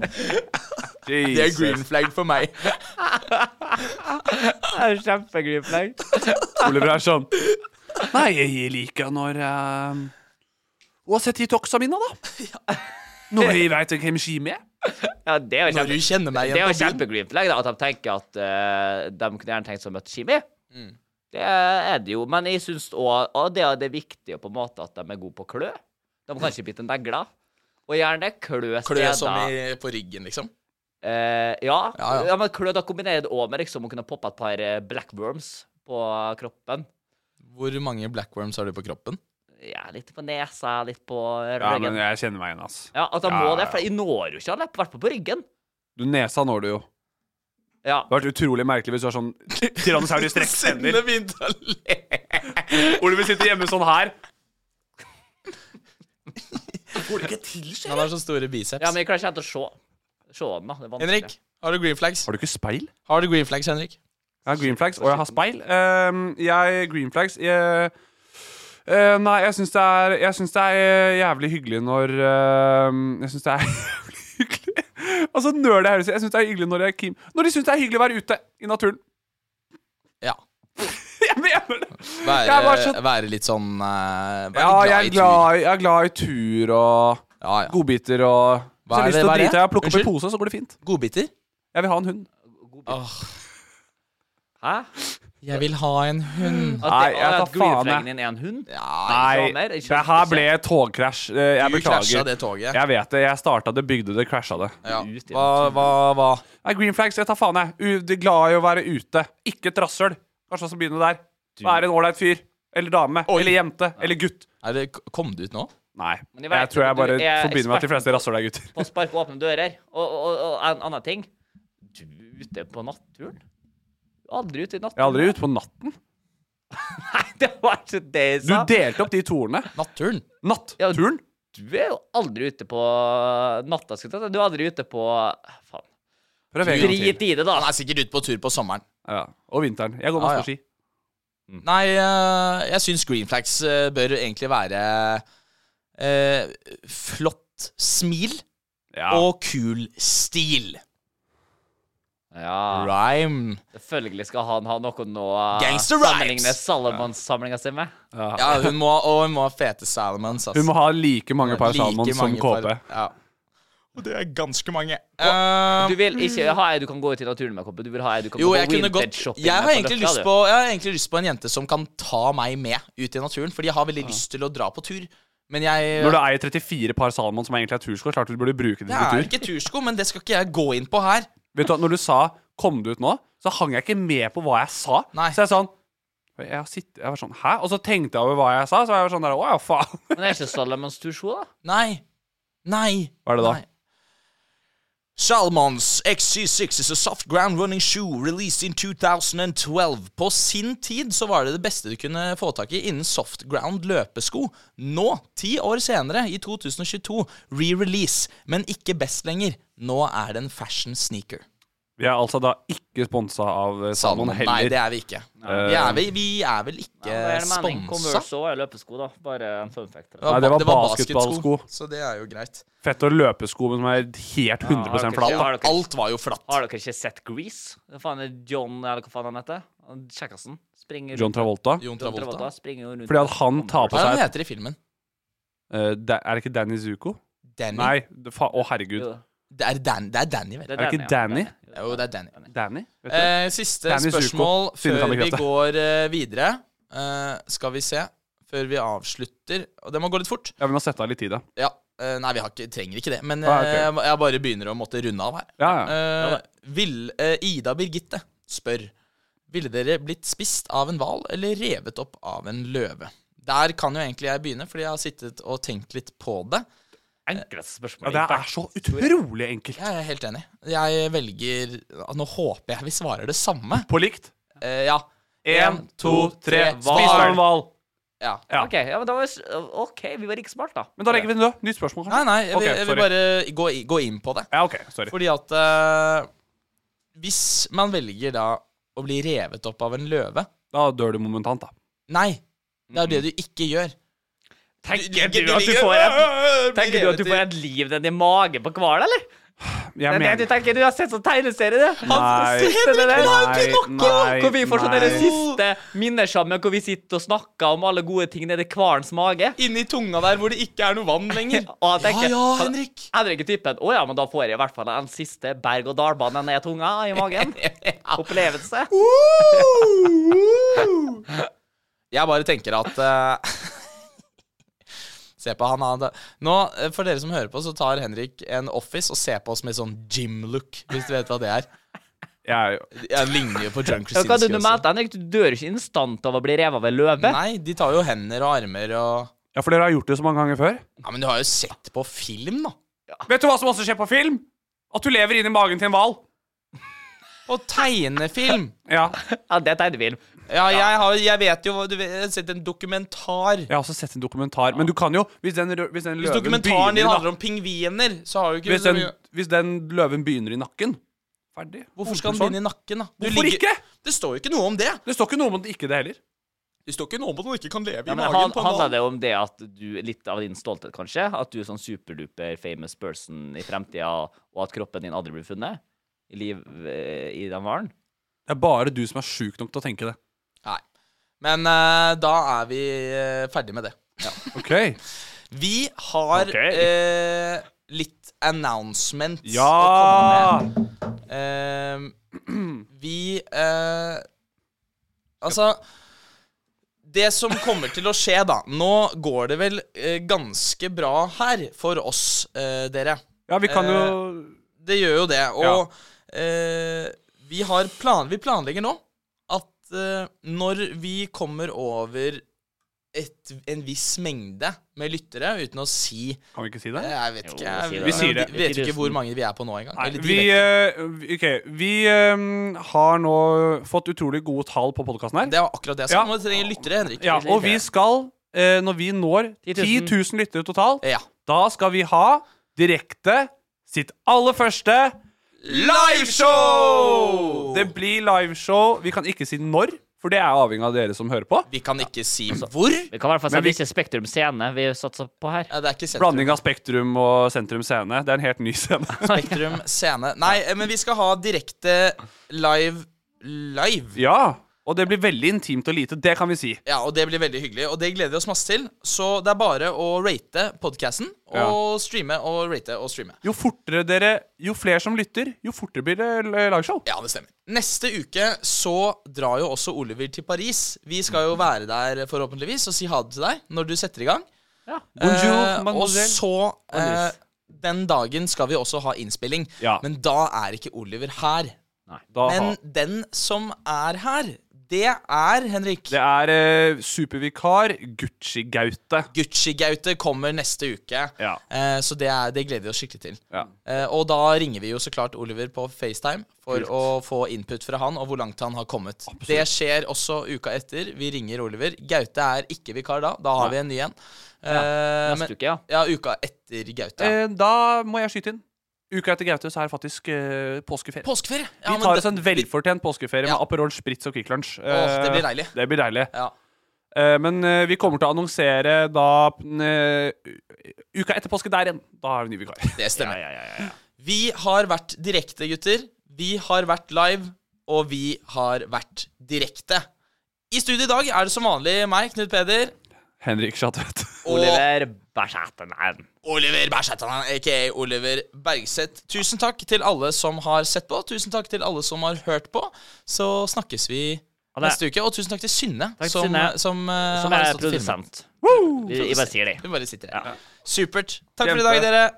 Speaker 3: Jesus.
Speaker 1: Det er green flag for meg.
Speaker 4: det er kjempegrypleg.
Speaker 3: Oliver er sånn Nei, jeg liker når eh, Uansett detoxamina, da. Når jeg veit hvem Kim er.
Speaker 4: Ja, det er jo
Speaker 1: Når du
Speaker 4: kjempe-
Speaker 1: kjenner meg
Speaker 4: det
Speaker 1: igjen
Speaker 4: er
Speaker 1: på
Speaker 4: jo
Speaker 1: byen.
Speaker 4: kjempegrypleg da, at de tenker at eh, de kunne gjerne tenkt seg å møte Kimi.
Speaker 1: Mm.
Speaker 4: Det er det jo. Men jeg syns òg og det, er- det er viktig på en måte at de er gode på klø. De kan ikke bite en negle. Og gjerne klø
Speaker 1: Klø som
Speaker 4: steder.
Speaker 1: i, på ryggen, liksom.
Speaker 4: Eh, ja. ja,
Speaker 1: Ja, ja.
Speaker 4: men klø, da kombinerer det òg med liksom, å kunne poppe et par eh, blackworms på kroppen.
Speaker 1: Hvor mange blackworms har du på kroppen?
Speaker 4: Ja, litt på nesa, litt på
Speaker 3: Ja, men
Speaker 4: ryggen. Ja,
Speaker 3: jeg kjenner meg igjen, ass.
Speaker 4: at da
Speaker 3: Ja,
Speaker 4: må
Speaker 3: ja,
Speaker 4: det, for jeg når jo ikke alle, i hvert fall på ryggen.
Speaker 3: Du, nesa når du jo.
Speaker 4: Ja.
Speaker 3: Det hadde vært utrolig merkelig hvis du har sånn Tyrannosaurus rex-hender.
Speaker 1: Sinde begynte å le.
Speaker 3: Hvor du vil sitte hjemme sånn her.
Speaker 1: Han har så store biceps.
Speaker 4: Ja, men jeg klarer ikke helt å se. Se den, da. Det er vanskelig.
Speaker 1: Henrik, har du green flags?
Speaker 3: Har du ikke speil?
Speaker 1: Har du green flags, Henrik?
Speaker 3: Jeg har green flags, og jeg har speil. Ehm, jeg green flags jeg, eh, Nei, jeg syns det er Jeg synes det er eh, jævlig hyggelig når ehm, Jeg syns det er jævlig hyggelig Altså, nøl det høres ut Jeg syns det er hyggelig når jeg Kim Når de syns det er hyggelig å være ute i naturen.
Speaker 1: Ja.
Speaker 3: Jeg mener det!
Speaker 1: Være,
Speaker 3: Jeg var så-
Speaker 1: være litt sånn eh, Være
Speaker 3: Ja, jeg er
Speaker 1: i tur.
Speaker 3: glad, i- jeg er glad i tur og
Speaker 1: Ja, ja.
Speaker 3: godbiter og Hvis jeg
Speaker 1: er
Speaker 3: har
Speaker 1: det-
Speaker 3: lyst til
Speaker 1: hva
Speaker 3: å
Speaker 1: er det?
Speaker 3: drite i å plukke opp en
Speaker 1: Unnskyld?
Speaker 3: pose, så går det fint.
Speaker 1: Godbiter?
Speaker 3: Jeg vil ha en hund.
Speaker 1: Åh,
Speaker 4: Hæ?
Speaker 1: jeg vil ha en hund.
Speaker 4: At,
Speaker 3: Nei,
Speaker 4: Nei,
Speaker 3: jeg tar
Speaker 4: jeg at
Speaker 3: faen, jeg.
Speaker 4: gloriflegen din er en hund?
Speaker 1: Ja,
Speaker 3: Nei,
Speaker 4: Ikke ha mer, ikke
Speaker 3: det her ble et togkrasj. Eh, Jeg
Speaker 1: du krasja
Speaker 3: beklager.
Speaker 1: det toget.
Speaker 3: Jeg vet det. Jeg starta det, bygde det, crasha det.
Speaker 1: Ja.
Speaker 4: Ut i
Speaker 1: Hva, hva, hva?
Speaker 3: Nei, green flags, jeg tar faen, jeg. U de er glad i å være ute. Ikke et rasshøl. Kanskje også begynne der. Være en ålreit fyr. Eller dame. Eller jente. Eller gutt.
Speaker 1: Er det, kom det ut nå?
Speaker 3: Nei.
Speaker 4: Men jeg
Speaker 3: Jeg,
Speaker 4: vet
Speaker 3: tror
Speaker 4: at
Speaker 3: jeg
Speaker 4: du
Speaker 3: bare
Speaker 4: er
Speaker 3: forbinder meg at de
Speaker 4: eksperten.
Speaker 3: fleste rasshøl er gutter.
Speaker 4: På å sparke åpne dører. Og, og, og en annen ting Du er ute på naturen? Du er aldri ute i naturen.
Speaker 3: Jeg er aldri ute på natten.
Speaker 4: Nei, det var ikke det jeg
Speaker 3: Du
Speaker 4: sa.
Speaker 3: delte opp de torene.
Speaker 1: Naturen.
Speaker 4: Ja,
Speaker 3: Natt-turen.
Speaker 4: Du er jo aldri ute på natta. skulle jeg ta. Du er aldri ute på eh, Faen.
Speaker 3: Prøv en gang til.
Speaker 4: Drit i det, da.
Speaker 1: Han er sikkert ute på tur på sommeren.
Speaker 3: Ja. Og vinteren. Jeg går
Speaker 1: Ja,
Speaker 3: masse på
Speaker 1: ja.
Speaker 3: ski. Mm.
Speaker 1: Nei, eh, jeg syns green flags eh, bør egentlig være eh, flott smil
Speaker 3: Ja.
Speaker 1: og kul stil.
Speaker 4: Ja,
Speaker 1: Rhyme.
Speaker 4: selvfølgelig skal han ha eh, noen å
Speaker 1: Gangster
Speaker 4: sammenligne
Speaker 1: rhymes.
Speaker 4: Salomon-samlinga si med.
Speaker 1: Ja, hun må, og hun må ha fete Salomons. ass.
Speaker 3: Hun må ha like mange par
Speaker 1: Like
Speaker 3: salmon som
Speaker 1: mange par-
Speaker 3: KP.
Speaker 1: Ja. Eh, Og det er ganske mange.
Speaker 4: Du vil ikke ha ei du kan gå ut i naturen med, Koppe. Du vil ha ei du kan
Speaker 1: jo,
Speaker 4: gå
Speaker 1: jeg kunne
Speaker 4: vintage
Speaker 1: gått
Speaker 4: shopping
Speaker 1: jeg
Speaker 4: med
Speaker 1: har,
Speaker 4: på
Speaker 1: egentlig
Speaker 4: løkka,
Speaker 1: lyst
Speaker 4: du.
Speaker 1: på, jeg har egentlig lyst på en jente som kan ta meg med ut i naturen, fordi jeg har veldig lyst til å dra på tur. Men jeg
Speaker 3: Når du eier 34 par salmon som egentlig er tursko, klart du burde bruke
Speaker 1: Det
Speaker 3: dem til
Speaker 1: er
Speaker 3: tur.
Speaker 1: ikke tursko, men det skal ikke jeg gå inn på her.
Speaker 3: Vet du hva, Når du sa 'kom du ut nå', så hang jeg ikke med på hva jeg sa.
Speaker 1: Nei.
Speaker 3: Så jeg sånn jeg, har sitt- jeg var sånn 'hæ?' Og så tenkte jeg over hva jeg sa, så var jeg sånn der 'å ja, faen'.
Speaker 4: Men det er ikke Salomons tursko, da?
Speaker 1: Nei. Nei.
Speaker 3: Hva er det da?
Speaker 1: Nei. Salmons XC6 is a soft ground running shoe released in 2012. På sin tid så var det det beste du kunne få tak i innen soft ground løpesko. Nå, ti år senere, i 2022, re-release, men ikke best lenger. Nå er det en fashion sneaker.
Speaker 3: Vi er altså da ikke sponsa av eh,
Speaker 1: Salmon.
Speaker 3: salmon heller.
Speaker 1: Sånn. Nei, det er vi ikke. Vi er, vel- vi er vel
Speaker 4: Ja,
Speaker 1: ikke
Speaker 4: det er mening.
Speaker 1: sponsa?
Speaker 4: Converse og løpesko, da. Bare en fun fact.
Speaker 3: Nei, det var basketballsko.
Speaker 1: Så det er jo greit.
Speaker 3: Fett å løpe sko som er helt 100 flat.
Speaker 4: Har
Speaker 3: da.
Speaker 4: dere-
Speaker 1: Alt var jo flatt.
Speaker 4: Har dere ikke sett Grease? Hva faen er John, eller hva faen han heter? Han Kjekkasen. Springer rundt-
Speaker 3: John Travolta.
Speaker 1: Jon
Speaker 4: John
Speaker 1: Travolta.
Speaker 4: Travolta springer jo rundt
Speaker 3: Fordi at han tar på
Speaker 1: Hva er det
Speaker 3: seg
Speaker 1: han heter i filmen?
Speaker 3: Eh, da- Er det ikke Danny Zuko?
Speaker 1: Danny?
Speaker 3: Nei, det fa å herregud.
Speaker 4: Jo,
Speaker 1: Det er, Dan, det er Danny, vel?
Speaker 4: det
Speaker 3: Er det ikke Danny?
Speaker 4: ja.
Speaker 1: Jo, det er Danny.
Speaker 3: Danny? Vet du?
Speaker 1: Eh, siste
Speaker 3: Danny Zuko.
Speaker 1: spørsmål
Speaker 3: Siden
Speaker 1: før
Speaker 3: kan
Speaker 1: vi
Speaker 3: bekrefte.
Speaker 1: går eh, videre. Eh, skal vi se. Før vi avslutter. Og det må gå litt fort.
Speaker 3: ja, vi må sette av litt tid, da.
Speaker 1: Ja. eh, nei, vi har ikke, trenger ikke det. Men
Speaker 3: Ah, ok.
Speaker 1: eh, jeg- jeg bare begynner å måtte runde av her.
Speaker 3: Ja, ja.
Speaker 1: Eh, vil eh, Ida Birgitte spør Ville dere blitt spist av en hval eller revet opp av en løve? Der kan jo egentlig jeg begynne, fordi jeg har sittet og tenkt litt på det.
Speaker 4: Enkleste
Speaker 3: ja
Speaker 4: spørsmål.
Speaker 3: det er så utrolig enkelt.
Speaker 1: Jeg er helt enig. Jeg velger Nå håper jeg vi svarer det samme.
Speaker 3: På likt.
Speaker 1: Eh, ja.
Speaker 3: En, to, tre.
Speaker 1: Spis
Speaker 3: Spis av en hval.
Speaker 1: Ja.
Speaker 3: Ja.
Speaker 4: OK, ja, men da var, s- OK, vi var ikke smart da.
Speaker 3: Men da legger vi den død. Nytt spørsmål,
Speaker 1: Nei,
Speaker 3: kanskje?
Speaker 1: nei, jeg,
Speaker 3: Ok,
Speaker 1: vil- jeg vil
Speaker 3: sorry.
Speaker 1: bare gå, i- gå inn på det.
Speaker 3: Ja, OK. Sorry.
Speaker 1: Fordi at eh, Hvis man velger da å bli revet opp av en løve
Speaker 3: Da dør du momentant, da.
Speaker 1: Nei, det er det du ikke gjør.
Speaker 4: Tenker du at du får en Tenker du at du får et liv nedi magen på hval, eller?
Speaker 3: Jeg
Speaker 4: Det er det du tenker? Du har sett sånn tegneserie, du.
Speaker 3: Nei.
Speaker 4: Siste det der.
Speaker 3: nei,
Speaker 4: Hvor vi får sånn
Speaker 3: nei.
Speaker 4: det siste minnesammen hvor vi sitter og snakker om alle gode ting nedi hvalens mage.
Speaker 1: Inni tunga der hvor det ikke er noe vann lenger.
Speaker 4: Og jeg tenker,
Speaker 1: ja ja,
Speaker 4: kan-
Speaker 1: Henrik.
Speaker 4: Henrik er typen Å ja, men da får jeg i hvert fall en siste berg-og-dal-bane ned tunga i magen. Opplevelse.
Speaker 1: Woo! Jeg bare tenker at eh, Se på han, han Nå, eh, For dere som hører på, så tar Henrik en Office og ser på oss med sånn gym-look, hvis du vet hva det er.
Speaker 3: Jeg,
Speaker 1: ligner jo på John
Speaker 4: Ja, Hva er det
Speaker 1: Krasinski
Speaker 4: du altså.
Speaker 1: også.
Speaker 4: meldte, Henrik? Du dør ikke instant av å bli revet av en løve.
Speaker 1: Nei, de tar jo hender og armer og
Speaker 3: Ja, for dere har gjort det så mange ganger før.
Speaker 1: Ja, Men du har jo sett på film, da.
Speaker 3: Vet du hva som også skjer på film? At du lever inni magen til en hval.
Speaker 1: Og tegnefilm!
Speaker 3: Ja.
Speaker 4: Ja, det er tegnefilm.
Speaker 1: Ja, jeg, har, jeg vet jo hva- Du vet- jeg har sett en dokumentar.
Speaker 3: Jeg har også sett en dokumentar. Men du kan jo Hvis den, rø- hvis den
Speaker 1: Hvis
Speaker 3: løven
Speaker 1: dokumentaren din
Speaker 3: begynner,
Speaker 1: handler om pingviner, så har jo ikke
Speaker 3: hvis den, hvis den løven begynner i nakken Ferdig.
Speaker 1: Hvorfor skal den begynne i nakken, da? Du
Speaker 3: Hvorfor
Speaker 1: ligger-
Speaker 3: ikke?
Speaker 1: Det står jo ikke noe om det.
Speaker 3: Det står ikke noe om det ikke det heller.
Speaker 1: Det står ikke noe om at man ikke kan leve
Speaker 4: Ja,
Speaker 1: i
Speaker 4: men
Speaker 1: magen
Speaker 4: han,
Speaker 1: på en
Speaker 4: handler
Speaker 1: hval.
Speaker 4: det om det at du Litt av din stolthet, kanskje? At du er sånn superduper famous person i fremtida, og at kroppen din aldri blir funnet? I liv eh, i den hvalen?
Speaker 3: Det er bare du som er sjuk nok til å tenke det.
Speaker 1: Nei. Men eh, da er vi eh, ferdig med det.
Speaker 3: Ok
Speaker 1: Vi har
Speaker 3: Ok.
Speaker 1: eh, litt announcements å
Speaker 3: Ja!
Speaker 1: komme med. Eh, vi eh, Altså Det som kommer til å skje, da Nå går det vel eh, ganske bra her for oss, eh, dere.
Speaker 3: Ja, vi kan jo
Speaker 1: Eh, Det gjør jo det. Og eh, vi, har plan vi planlegger nå at eh, når vi kommer over et, en viss mengde med lyttere, uten å si
Speaker 3: Kan vi ikke si
Speaker 1: eh,
Speaker 3: det?
Speaker 1: Jeg vet ikke. Jeg,
Speaker 3: Vi sier det.
Speaker 1: jeg vet ikke hvor mange vi er på nå engang.
Speaker 3: Nei,
Speaker 1: eller
Speaker 3: vi
Speaker 1: direkte.
Speaker 3: eh, vi- OK. Vi eh, har nå fått utrolig gode tall på podkasten her.
Speaker 1: Det var akkurat det jeg sa.
Speaker 3: Ja.
Speaker 1: Nå trenger vi lyttere, Henrik.
Speaker 3: Ja, og vi skal, eh, når vi når 10
Speaker 4: 10 000.
Speaker 3: 000 lyttere totalt,
Speaker 1: Ja.
Speaker 3: da skal vi ha direkte sitt aller første liveshow! Det blir liveshow. Vi kan ikke si når, for det er avhengig av dere som hører på.
Speaker 1: Vi kan ikke si
Speaker 3: Altså,
Speaker 1: hvor.
Speaker 4: Vi kan i hvert fall si
Speaker 3: Men
Speaker 4: at
Speaker 3: vi-
Speaker 4: det ikke er Spektrum Scene vi satser på her.
Speaker 1: Ja, det er ikke sentrum.
Speaker 3: Blanding av Spektrum og Sentrum Scene. Det er en helt ny scene.
Speaker 1: Spektrum scene. Nei, eh, men vi skal ha direkte live live.
Speaker 3: ja, og det blir veldig intimt og lite. Det kan vi si.
Speaker 1: Ja, og det blir veldig hyggelig, og det gleder vi oss masse til. Så det er bare å rate podcasten, og
Speaker 3: Ja.
Speaker 1: streame og rate og streame.
Speaker 3: Jo fortere dere, jo flere som lytter, jo fortere blir det l- liveshow.
Speaker 1: Ja, det stemmer. Neste uke så drar jo også Oliver til Paris. Vi skal jo være der forhåpentligvis og si ha det til deg når du setter i gang. Eh, og
Speaker 3: mademoiselle.
Speaker 1: så eh, Den dagen skal vi også ha innspilling,
Speaker 3: Ja.
Speaker 1: men da er ikke Oliver her.
Speaker 3: Da har-
Speaker 1: Men den som er her, det er Henrik.
Speaker 3: Det er eh, supervikar Gucci Gaute.
Speaker 1: Gucci-Gaute kommer neste uke.
Speaker 3: Ja.
Speaker 1: Eh, så det, er, det gleder vi oss skikkelig til.
Speaker 3: Ja.
Speaker 1: Eh, og da ringer vi jo så klart Oliver på FaceTime for å få input fra han og hvor langt han har kommet. Det skjer også uka etter. Vi ringer Oliver. Gaute er ikke vikar da. Da har vi en ny en. Eh,
Speaker 4: Neste uke, ja.
Speaker 1: ja, uka etter Gaute.
Speaker 3: Eh, da må jeg skyte inn. Uka etter Gaute så er det faktisk eh, påskeferie.
Speaker 1: Påskeferie! Ja,
Speaker 3: vi
Speaker 1: men
Speaker 3: tar oss
Speaker 1: det-
Speaker 3: en velfortjent påskeferie
Speaker 1: Ja.
Speaker 3: med Aperol Spritz og Kvikk Lunsj.
Speaker 1: Åh, det blir
Speaker 3: Eh,
Speaker 1: deilig.
Speaker 3: Det blir deilig.
Speaker 1: Ja.
Speaker 3: Eh, men eh, vi kommer til å annonsere da eh, Uka etter påske der igjen. Da er det ny vikar.
Speaker 1: Det stemmer. Vi har vært direkte, gutter. Vi har vært live, og vi har vært direkte. I studio i dag er det som vanlig meg, Knut Peder,
Speaker 3: Henrik Schatvedt.
Speaker 1: og
Speaker 4: Oliver Bæsjætenen.
Speaker 1: Oliver Bergsetanen, aka Oliver Bergseth. Tusen takk til alle som har sett på. Tusen takk til alle som har hørt på. Så snakkes vi
Speaker 4: det.
Speaker 1: neste uke. Og tusen takk til Synne,
Speaker 4: til
Speaker 1: som,
Speaker 4: Synne,
Speaker 1: som, eh,
Speaker 4: Som
Speaker 1: har
Speaker 4: er
Speaker 1: stått og filmet.
Speaker 4: produsent. Jeg jeg bare sier det.
Speaker 1: Hun bare sitter her. Supert. Takk for i dag,
Speaker 3: Kjempe.
Speaker 1: dere.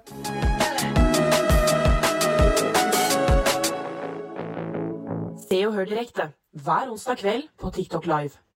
Speaker 2: Se og hør direkte hver onsdag kveld på TikTok Live.